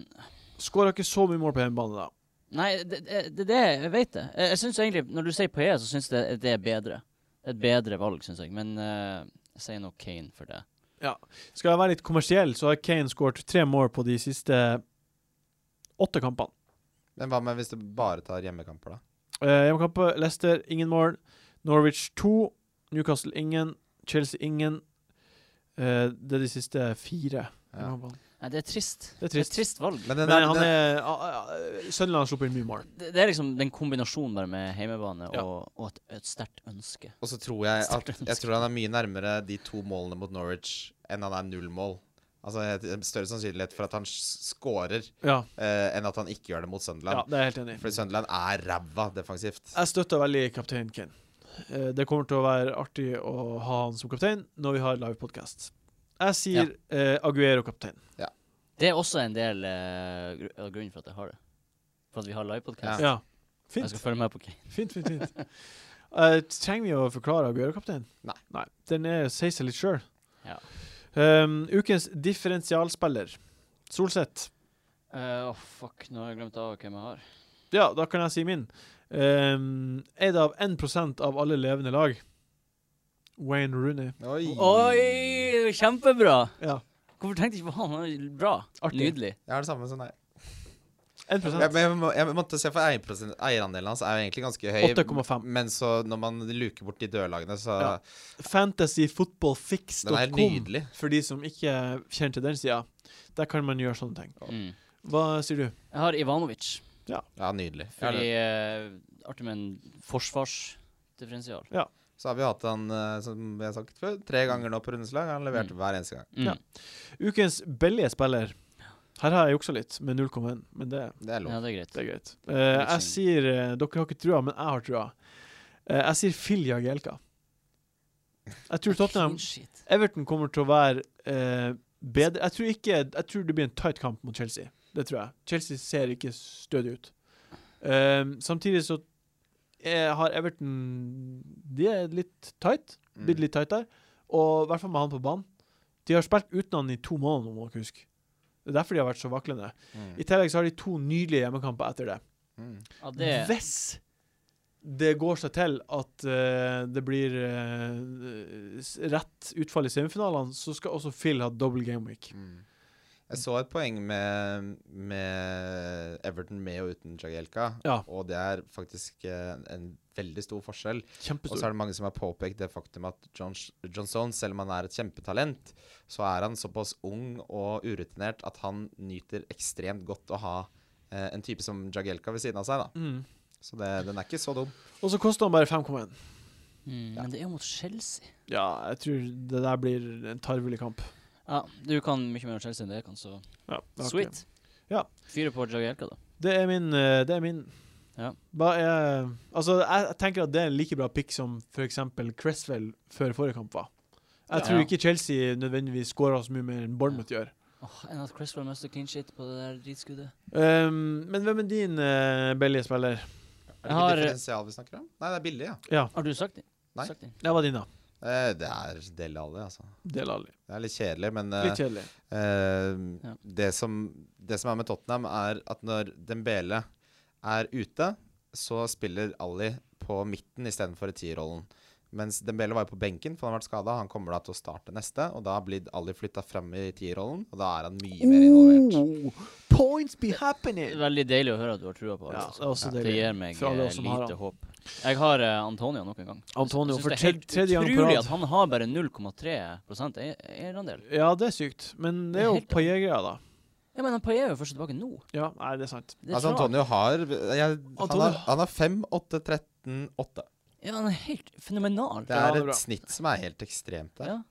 Speaker 1: Skåra ikke så mye mål på hjemmebane, da.
Speaker 2: Nei, det er det, det, jeg vet det. Jeg, jeg synes egentlig, Når du sier Paé, så syns jeg det, det er bedre. Det er et bedre valg, syns jeg. Men eh, jeg sier nok Kane for det.
Speaker 1: Skal jeg være litt kommersiell, så har Kane skåret tre mål på de siste åtte kampene.
Speaker 5: Men hva med hvis du bare tar hjemmekamper, da?
Speaker 1: Eh, Hjemmekamper Leicester ingen mål. Norwich to. Newcastle ingen. Chelsea ingen. Eh, det er de siste fire.
Speaker 5: Ja.
Speaker 1: hjemmekampene.
Speaker 2: Nei, det er trist.
Speaker 1: Det er
Speaker 2: Det er
Speaker 1: trist.
Speaker 2: et trist valg.
Speaker 5: Men den,
Speaker 1: Men
Speaker 5: der-
Speaker 1: han
Speaker 5: den,
Speaker 1: er ah, ah, Sunderland har sluppet inn mye mål.
Speaker 2: Det, det er liksom den kombinasjonen bare med heimebane
Speaker 1: Ja.
Speaker 2: og, og et, et sterkt ønske.
Speaker 5: Og så tror jeg at
Speaker 2: Sterkt
Speaker 5: jeg
Speaker 2: ønske.
Speaker 5: tror han er mye nærmere de to målene mot Norwich enn han er null mål. Altså det er Større sannsynlighet for at han s- scorer
Speaker 1: Ja,
Speaker 5: eh, enn at han ikke gjør det mot
Speaker 1: ja,
Speaker 5: Sunderland.
Speaker 1: det er jeg helt enig i.
Speaker 5: Fordi Sunderland er ræva defensivt.
Speaker 1: Jeg støtter veldig kaptein Kane. Eh, Det kommer til å være artig å ha han som kaptein når vi har livepodkast. Jeg sier eh, Aguero kaptein.
Speaker 2: Det er også en del eh, gru- av grunnen for at jeg har det. For at vi har livepodkast.
Speaker 1: Ja.
Speaker 2: Jeg
Speaker 1: Fint,
Speaker 2: skal følge med på Kane.
Speaker 1: fint, fint. fint. Eh, trenger vi å forklare Aguero kaptein?
Speaker 5: Nei.
Speaker 1: Den er, sier seg litt sjøl.
Speaker 2: Ja.
Speaker 1: Um, ukens differensialspiller, Solseth.
Speaker 2: Eh, Åh, fuck. Nå har jeg glemt av hvem jeg har.
Speaker 1: Ja, da kan jeg si min. Um, Eid av 1 av alle levende lag. Wayne Rooney.
Speaker 5: Oi!
Speaker 2: Oi! Kjempebra!
Speaker 1: Ja,
Speaker 2: Hvorfor tenkte jeg ikke på han? Han er Bra.
Speaker 1: Artig.
Speaker 2: Nydelig.
Speaker 5: Jeg har det samme som deg.
Speaker 1: 1
Speaker 5: Jeg, men jeg, må, jeg måtte se, for eierprosent- eierandelen hans er jo egentlig ganske høy.
Speaker 1: 8,5.
Speaker 5: Men så når man luker bort de dødlagene, så
Speaker 1: Ja.
Speaker 5: Den er helt
Speaker 1: Fantasyfootballfix.com.
Speaker 5: nydelig.
Speaker 1: For de som ikke kjenner til den sida, der kan man gjøre sånne ting.
Speaker 2: Mm.
Speaker 1: Hva sier du?
Speaker 2: Jeg har Ivanovic.
Speaker 5: Ja, nydelig. Jeg har
Speaker 2: Fordi
Speaker 5: det.
Speaker 2: eh, Artig med en forsvarsdifferensial.
Speaker 5: Så har vi hatt han, eh, som vi har sagt før, tre ganger nå på rundeslag. Han leverte hver eneste gang.
Speaker 2: Mm.
Speaker 1: Ja. Ukens billige spiller. Her har jeg juksa litt, med 0,1, men det,
Speaker 5: Det er lov.
Speaker 2: Ja, det er greit.
Speaker 1: det er greit. Eh, jeg sier eh, Dere har ikke trua, men jeg har trua. Eh, jeg sier Phil Jagielka. Jeg tror Tottenham
Speaker 2: Clean sheet.
Speaker 1: Everton kommer til å være eh, bedre Jeg tror ikke Jeg tror det blir en tight kamp mot Chelsea. Det tror jeg. Chelsea ser ikke stødig ut. Ehm, samtidig så er, har Everton De er litt tight.
Speaker 5: Mm.
Speaker 1: Blitt litt tight der. Og i hvert fall med han på banen. De har spilt uten han i to måneder, nå, må dere huske. Det er derfor de har vært så vaklende.
Speaker 5: Mm.
Speaker 1: I tillegg så har de to nydelige hjemmekamper etter det.
Speaker 5: Mm.
Speaker 2: Ja, det
Speaker 1: Hvis det går seg til at eh, det blir eh, s- rett utfall i semifinalene, så skal også Phil ha double game week.
Speaker 5: Mm. Jeg så et poeng med, med Everton med og uten Jagielka,
Speaker 1: Ja.
Speaker 5: og det er faktisk eh, en veldig stor forskjell. Og så
Speaker 1: Kjempestor.
Speaker 5: er det mange som har påpekt det faktum at John, John Stones, selv om han er et kjempetalent, så er han såpass ung og urutinert at han nyter ekstremt godt å ha eh, en type som Jagielka ved siden av seg. da.
Speaker 1: Mm.
Speaker 5: Så det, den er ikke så dum.
Speaker 1: Og så koster han bare 5,1.
Speaker 2: mm, Men det er jo mot Chelsea.
Speaker 1: Ja, jeg tror det der blir en tarvelig kamp.
Speaker 2: Ja, du kan mye mer om Chelsea enn det jeg kan, så
Speaker 1: Ja, det er
Speaker 2: Sweet.
Speaker 1: Ja.
Speaker 2: Fyre på Jagielka, da.
Speaker 1: Det er min. eh, Det er min.
Speaker 2: Ja.
Speaker 1: Hva er Altså, jeg jeg tenker at det er en like bra pick som f.eks. Cresswell før forrige kamp var. Jeg
Speaker 2: Ja.
Speaker 1: tror ikke Chelsea nødvendigvis skårer så mye mer enn Bournemouth gjør.
Speaker 2: Åh, Enn at Cresswell mister clean sheet på det der dritskuddet.
Speaker 1: Um, men hvem er din uh, billige spiller?
Speaker 5: Er
Speaker 2: Jeg
Speaker 5: det
Speaker 2: har-
Speaker 5: ikke differensial vi snakker om? Nei, det er billig, ja.
Speaker 2: Har du sagt det?
Speaker 5: Nei.
Speaker 2: Sagt det?
Speaker 1: Det var din, da.
Speaker 5: Eh, det er del av det, altså.
Speaker 1: Del Ali.
Speaker 5: Det er litt kjedelig, men eh,
Speaker 1: Litt kjedelig.
Speaker 5: Eh,
Speaker 2: Ja.
Speaker 5: det, som, det som er med Tottenham, er at når Dembele er ute, så spiller Ali på midten istedenfor i tierrollen. Mens Dembele var jo på benken, for han har vært skada. Han kommer da til å starte neste, og da blir Ali flytta frem i tierrollen, og da er han mye
Speaker 2: Mm.
Speaker 5: mer involvert.
Speaker 1: Mm, points be happening!
Speaker 2: Veldig deilig å høre at du har trua på
Speaker 1: Ja,
Speaker 2: Alex.
Speaker 1: det er også
Speaker 2: det
Speaker 1: deilig.
Speaker 2: gir meg
Speaker 1: For alle
Speaker 2: eh,
Speaker 1: oss som har
Speaker 2: lite håp. Jeg har eh, Antonio nok en gang.
Speaker 1: Antonio
Speaker 2: Jeg synes
Speaker 1: for
Speaker 2: det er
Speaker 1: tre-
Speaker 2: helt
Speaker 1: tredje gang på
Speaker 2: Utrolig
Speaker 1: rad.
Speaker 2: at han har bare 0,3 prosent eier- eierandel.
Speaker 1: Ja, det er sykt. Men det
Speaker 2: Det
Speaker 1: er
Speaker 2: er
Speaker 1: jo
Speaker 2: helt-
Speaker 1: Paillet-greia, da.
Speaker 2: Ja, men Paillet er jo først tilbake nå.
Speaker 1: Ja, nei, det er sant.
Speaker 2: Det er
Speaker 5: Altså,
Speaker 2: rart.
Speaker 5: Antonio har jeg, han,
Speaker 1: Antonio-
Speaker 5: har han har 5, 8, 13, 8.
Speaker 2: Ja, han er helt fenomenal.
Speaker 5: Det
Speaker 1: Ja, det
Speaker 5: er
Speaker 1: er bra.
Speaker 5: et snitt som er helt ekstremt der.
Speaker 2: Ja.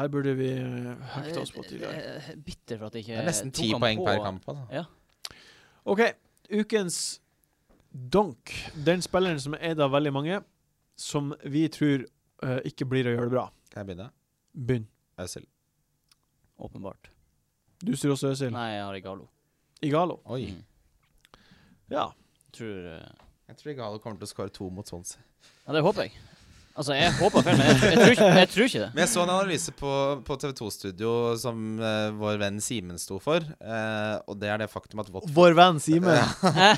Speaker 1: Her burde vi eh, hekta oss på tidligere.
Speaker 2: Jeg er eh, Bitter for at jeg ikke
Speaker 5: Det er nesten
Speaker 2: tok
Speaker 5: ti
Speaker 2: han
Speaker 5: poeng
Speaker 2: på.
Speaker 5: per kamp. Altså.
Speaker 1: OK, ukens donk. Den spilleren som er eid av veldig mange, som vi tror eh, ikke blir å gjøre det bra.
Speaker 5: Kan jeg begynne?
Speaker 1: Begynn.
Speaker 5: Øzil.
Speaker 2: Åpenbart.
Speaker 1: Du sier også Øzil.
Speaker 2: Nei, jeg har Igalo.
Speaker 1: Igalo.
Speaker 5: Oi.
Speaker 2: Mm.
Speaker 1: Ja.
Speaker 2: Tror eh,
Speaker 5: Jeg tror Igalo kommer til å skåre to mot Swansea.
Speaker 2: Ja, det håper jeg. Altså, jeg håper feil, men jeg, jeg, tror ikke, jeg tror ikke det.
Speaker 5: Men jeg så en analyse på, på TV2-studio som eh, vår venn Simen sto for, eh, og det er det faktum at Watford
Speaker 1: Vår venn Simen.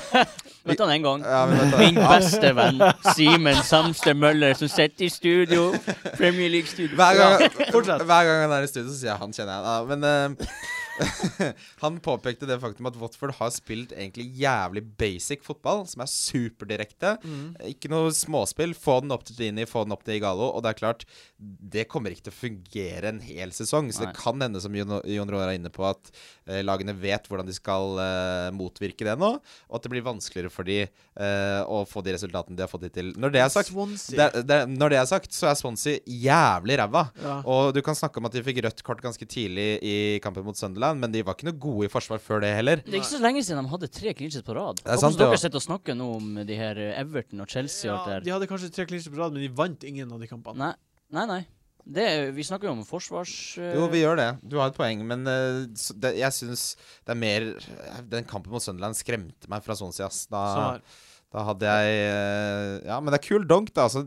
Speaker 2: Møtte han en gang.
Speaker 5: Ja, men vet du-
Speaker 2: Min beste venn Simen Samster Møller, som sitter i studio. Premier League-studio.
Speaker 5: Hver gang,
Speaker 1: fortsett.
Speaker 5: hver gang han er i studio, så sier jeg 'han kjenner jeg'. Ja, men eh, han påpekte det faktum at Watford har spilt egentlig jævlig basic fotball, som er superdirekte.
Speaker 2: Mm.
Speaker 5: Ikke noe småspill. Få den opp til Dini, få den opp til Igalo. Og det er klart, det kommer ikke til å fungere en hel sesong. Så
Speaker 2: Nei.
Speaker 5: det kan hende, som Jon Jon Roar er inne på, at eh, lagene vet hvordan de skal eh, motvirke det nå. Og at det blir vanskeligere for de eh, å få de resultatene de har fått hittil. Når det er sagt, det,
Speaker 1: Swansea.
Speaker 5: er- det, er- når det er sagt, så er Swansea jævlig ræva.
Speaker 1: Ja.
Speaker 5: Og du kan snakke om at de fikk rødt kort ganske tidlig i kampen mot Sunderland, men de var ikke noe gode i forsvar før det heller.
Speaker 2: Det er ikke så lenge siden de hadde tre clinches på rad.
Speaker 5: er sant,
Speaker 2: Hvordan dere
Speaker 5: det.
Speaker 2: sitter og snakker nå om de her eh, Everton og Chelsea
Speaker 1: Ja,
Speaker 2: og alt det
Speaker 1: de
Speaker 2: her.
Speaker 1: hadde kanskje tre klinsjer på rad, men de vant ingen av de kampene.
Speaker 2: Nei, nei. nei. Det, er- vi snakker jo om forsvars... eh,
Speaker 5: Jo, vi gjør det. Du har et poeng, men eh, s- det, jeg syns det er mer Den kampen mot Sunderland skremte meg fra Swansea, ass. Da,
Speaker 1: Sånn her.
Speaker 5: da hadde jeg eh, Ja, men det er kul donk, da. Altså,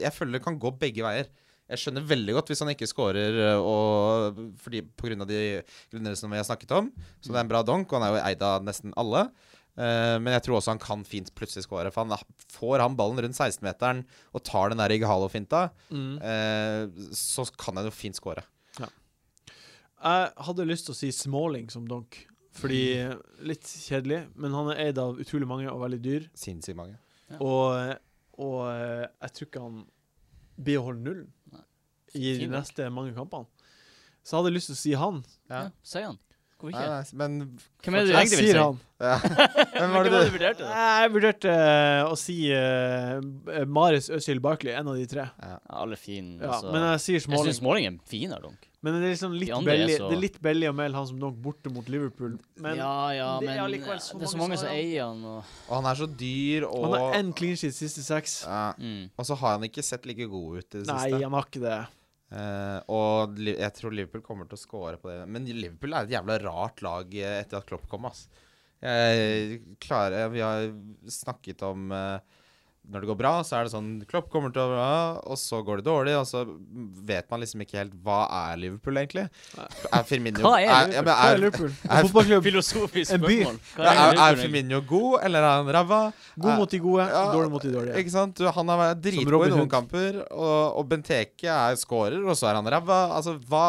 Speaker 5: jeg føler det kan gå begge veier. Jeg skjønner veldig godt hvis han ikke scorer eh, og fordi, på grunn av de grunnene som vi har snakket om. Så det er en bra donk, og han er jo eid av nesten alle. Eh, men jeg tror også han kan fint plutselig score. For han får han ballen rundt 16-meteren og tar den der Igalo-finta,
Speaker 1: Mm.
Speaker 5: eh, så kan han jo fint score.
Speaker 1: Jeg hadde lyst til å si Smalling som donk, fordi litt kjedelig, men han er eid av utrolig mange og veldig dyr,
Speaker 5: Sinnssykt mange.
Speaker 1: og, og eh, jeg tror ikke han blir å holde nullen
Speaker 2: Nei.
Speaker 1: i de
Speaker 2: Fin donk.
Speaker 1: neste mange kampene. Så jeg hadde lyst til å si han.
Speaker 2: Ja, sier han. Hvorfor
Speaker 5: Nei,
Speaker 2: ikke?
Speaker 5: nei, men
Speaker 2: Hvem er det du
Speaker 1: Jeg
Speaker 2: egentlig vil
Speaker 1: sier
Speaker 2: si?
Speaker 1: han.
Speaker 5: ja. Hvem var
Speaker 2: Hvem
Speaker 5: det
Speaker 2: var
Speaker 5: du
Speaker 2: det du vurderte? da?
Speaker 1: Jeg vurderte eh, å si eh, Maris Øzil Barkley, en av de tre.
Speaker 2: Ja, alle fine.
Speaker 1: Ja,
Speaker 2: altså.
Speaker 1: men jeg sier
Speaker 2: Jeg
Speaker 1: Smalling.
Speaker 2: syns Småling er en finere dunk.
Speaker 1: Men det er liksom litt
Speaker 2: De andre er
Speaker 1: billig,
Speaker 2: så-
Speaker 1: det er litt billig å melde han som donk borte mot Liverpool. Men
Speaker 2: ja, ja,
Speaker 1: det er
Speaker 2: men det
Speaker 1: allikevel
Speaker 2: er
Speaker 1: så
Speaker 2: så mange,
Speaker 1: mange som
Speaker 2: som
Speaker 1: har han.
Speaker 2: eier han, og
Speaker 5: Og han er så dyr, og
Speaker 1: han har én clean sheet siste seks.
Speaker 5: ja.
Speaker 2: mm.
Speaker 5: Og så har han ikke sett like god ut i det
Speaker 1: Nei,
Speaker 5: siste.
Speaker 1: han har ikke det.
Speaker 5: Eh, og Li- jeg tror Liverpool kommer til å score på det. Men Liverpool er et jævla rart lag eh, etter at Klopp kom, ass. Jeg klarer Vi har snakket om eh, når det går bra, så er det sånn Klopp kommer til å være bra, og så går det dårlig, og så vet man liksom ikke helt Hva er Liverpool, egentlig? Er Firmino
Speaker 2: Hva er
Speaker 5: ja, men
Speaker 1: Hva er
Speaker 5: er,
Speaker 1: Liverpool?
Speaker 5: er-
Speaker 1: En fotballklubb.
Speaker 2: Filosofisk
Speaker 1: En by.
Speaker 2: spørsmål. Hva
Speaker 5: Ja, er,
Speaker 2: Liverpool
Speaker 5: er
Speaker 2: egentlig?
Speaker 5: Firmino god, eller er han ræva?
Speaker 1: God mot de gode,
Speaker 5: Ja,
Speaker 1: dårlig mot de dårlige.
Speaker 5: Ikke sant? Du, han har vært dritgod
Speaker 1: Robin
Speaker 5: i noen
Speaker 1: Hood.
Speaker 5: kamper, og, og Benteke er scorer, og så er han ræva. Altså, hva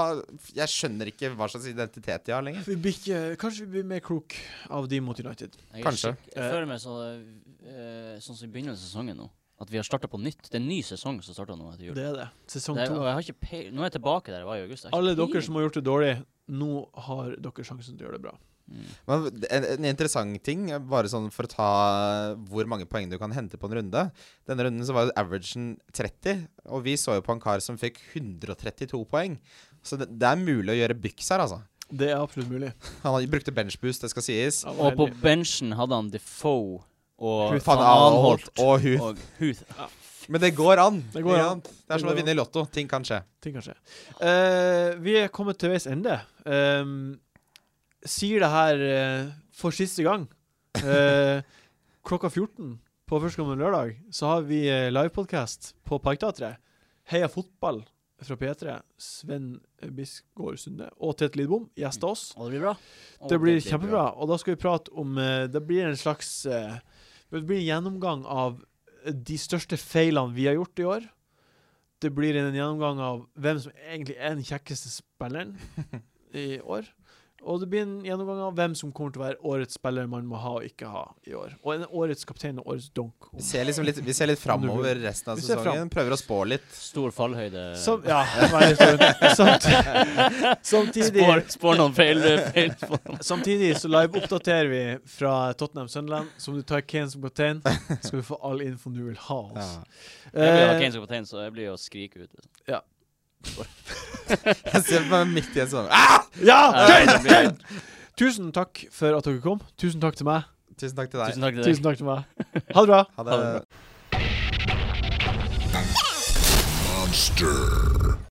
Speaker 5: Jeg skjønner ikke hva slags identitet de har lenger.
Speaker 1: Vi blir ikke, kanskje vi blir mer klok av de mot United.
Speaker 2: Jeg er
Speaker 5: Kanskje.
Speaker 2: skikk- Jeg føler meg så, eh, sånn som i begynnelsen av sesongen nå. At vi har starta på nytt. Det er en ny sesong som starter nå etter jul.
Speaker 1: Det er det. Sesong
Speaker 2: Det er,
Speaker 1: to.
Speaker 2: og jeg har ikke peil, nå er jeg tilbake der jeg var i august. Jeg har ikke
Speaker 1: Alle dere
Speaker 2: peiling.
Speaker 1: som har gjort det dårlig, nå har dere sjansen til å gjøre det bra.
Speaker 5: Men en, en interessant ting, bare sånn for å ta hvor mange poeng du kan hente på en runde Denne runden så var jo averagen 30, og vi så jo på en kar som fikk 132 poeng. Så det, det er mulig å gjøre byks her, altså.
Speaker 1: Det er absolutt mulig.
Speaker 5: Han har- brukte benchboost, det skal sies.
Speaker 1: Ja,
Speaker 2: Og på
Speaker 1: heldig.
Speaker 2: benchen hadde han Defoe og
Speaker 5: Van Anholt og Huth.
Speaker 2: og Huth.
Speaker 5: Men det går an.
Speaker 1: Det går
Speaker 5: ikke
Speaker 1: an.
Speaker 5: sant? Det er som
Speaker 1: går
Speaker 5: å vinne i Lotto. Ting kan skje.
Speaker 1: Ting kan skje. Eh, vi er kommet til veis ende. Ehm, sier det her eh, for siste gang. Eh, klokka 14 på førstkommende lørdag så har vi eh, livepodkast på Parkteatret. Heia fotball fra P3. Sven Bisgaard Sunde og Tete Lidbom gjester oss.
Speaker 2: Og det blir bra. Og
Speaker 1: Det blir kjempebra. Og da skal vi prate om eh, Det blir en slags eh, Det blir en gjennomgang av eh, de største feilene vi har gjort i år. Det blir en gjennomgang av hvem som egentlig er den kjekkeste spilleren i år. Og det blir en gjennomgang av hvem som kommer til å være årets spiller man må ha og ikke ha i år. Og en årets kaptein og årets donk.
Speaker 5: Vi ser liksom litt, vi ser litt framover resten av
Speaker 1: Vi ser
Speaker 5: sesongen. Prøver å spå litt.
Speaker 2: Stor fallhøyde.
Speaker 1: Som, ja, veldig stor. Samt- Samtidig
Speaker 2: Spår, spår noen feil. feil på.
Speaker 1: Samtidig så live-oppdaterer vi fra Tottenham Sunderland. Så om du tar Kane som kaptein, skal du få all info du vil ha.
Speaker 5: Ja.
Speaker 1: Altså.
Speaker 2: Jeg blir jo
Speaker 1: Eh,
Speaker 2: Kane som kaptein, så jeg blir jo å skrike ut. Liksom.
Speaker 5: Jeg ser på meg midt i en sånn ah!
Speaker 1: ja,
Speaker 2: Ja,
Speaker 1: Kane!
Speaker 2: det blir-
Speaker 1: Kane! Tusen takk for at dere kom. Tusen takk til meg.
Speaker 5: Tusen takk til deg.
Speaker 2: Tusen takk til deg.
Speaker 1: Tusen takk til meg. Ha det bra.
Speaker 2: Ha
Speaker 5: Ha
Speaker 2: det bra.
Speaker 5: det.
Speaker 3: Monster.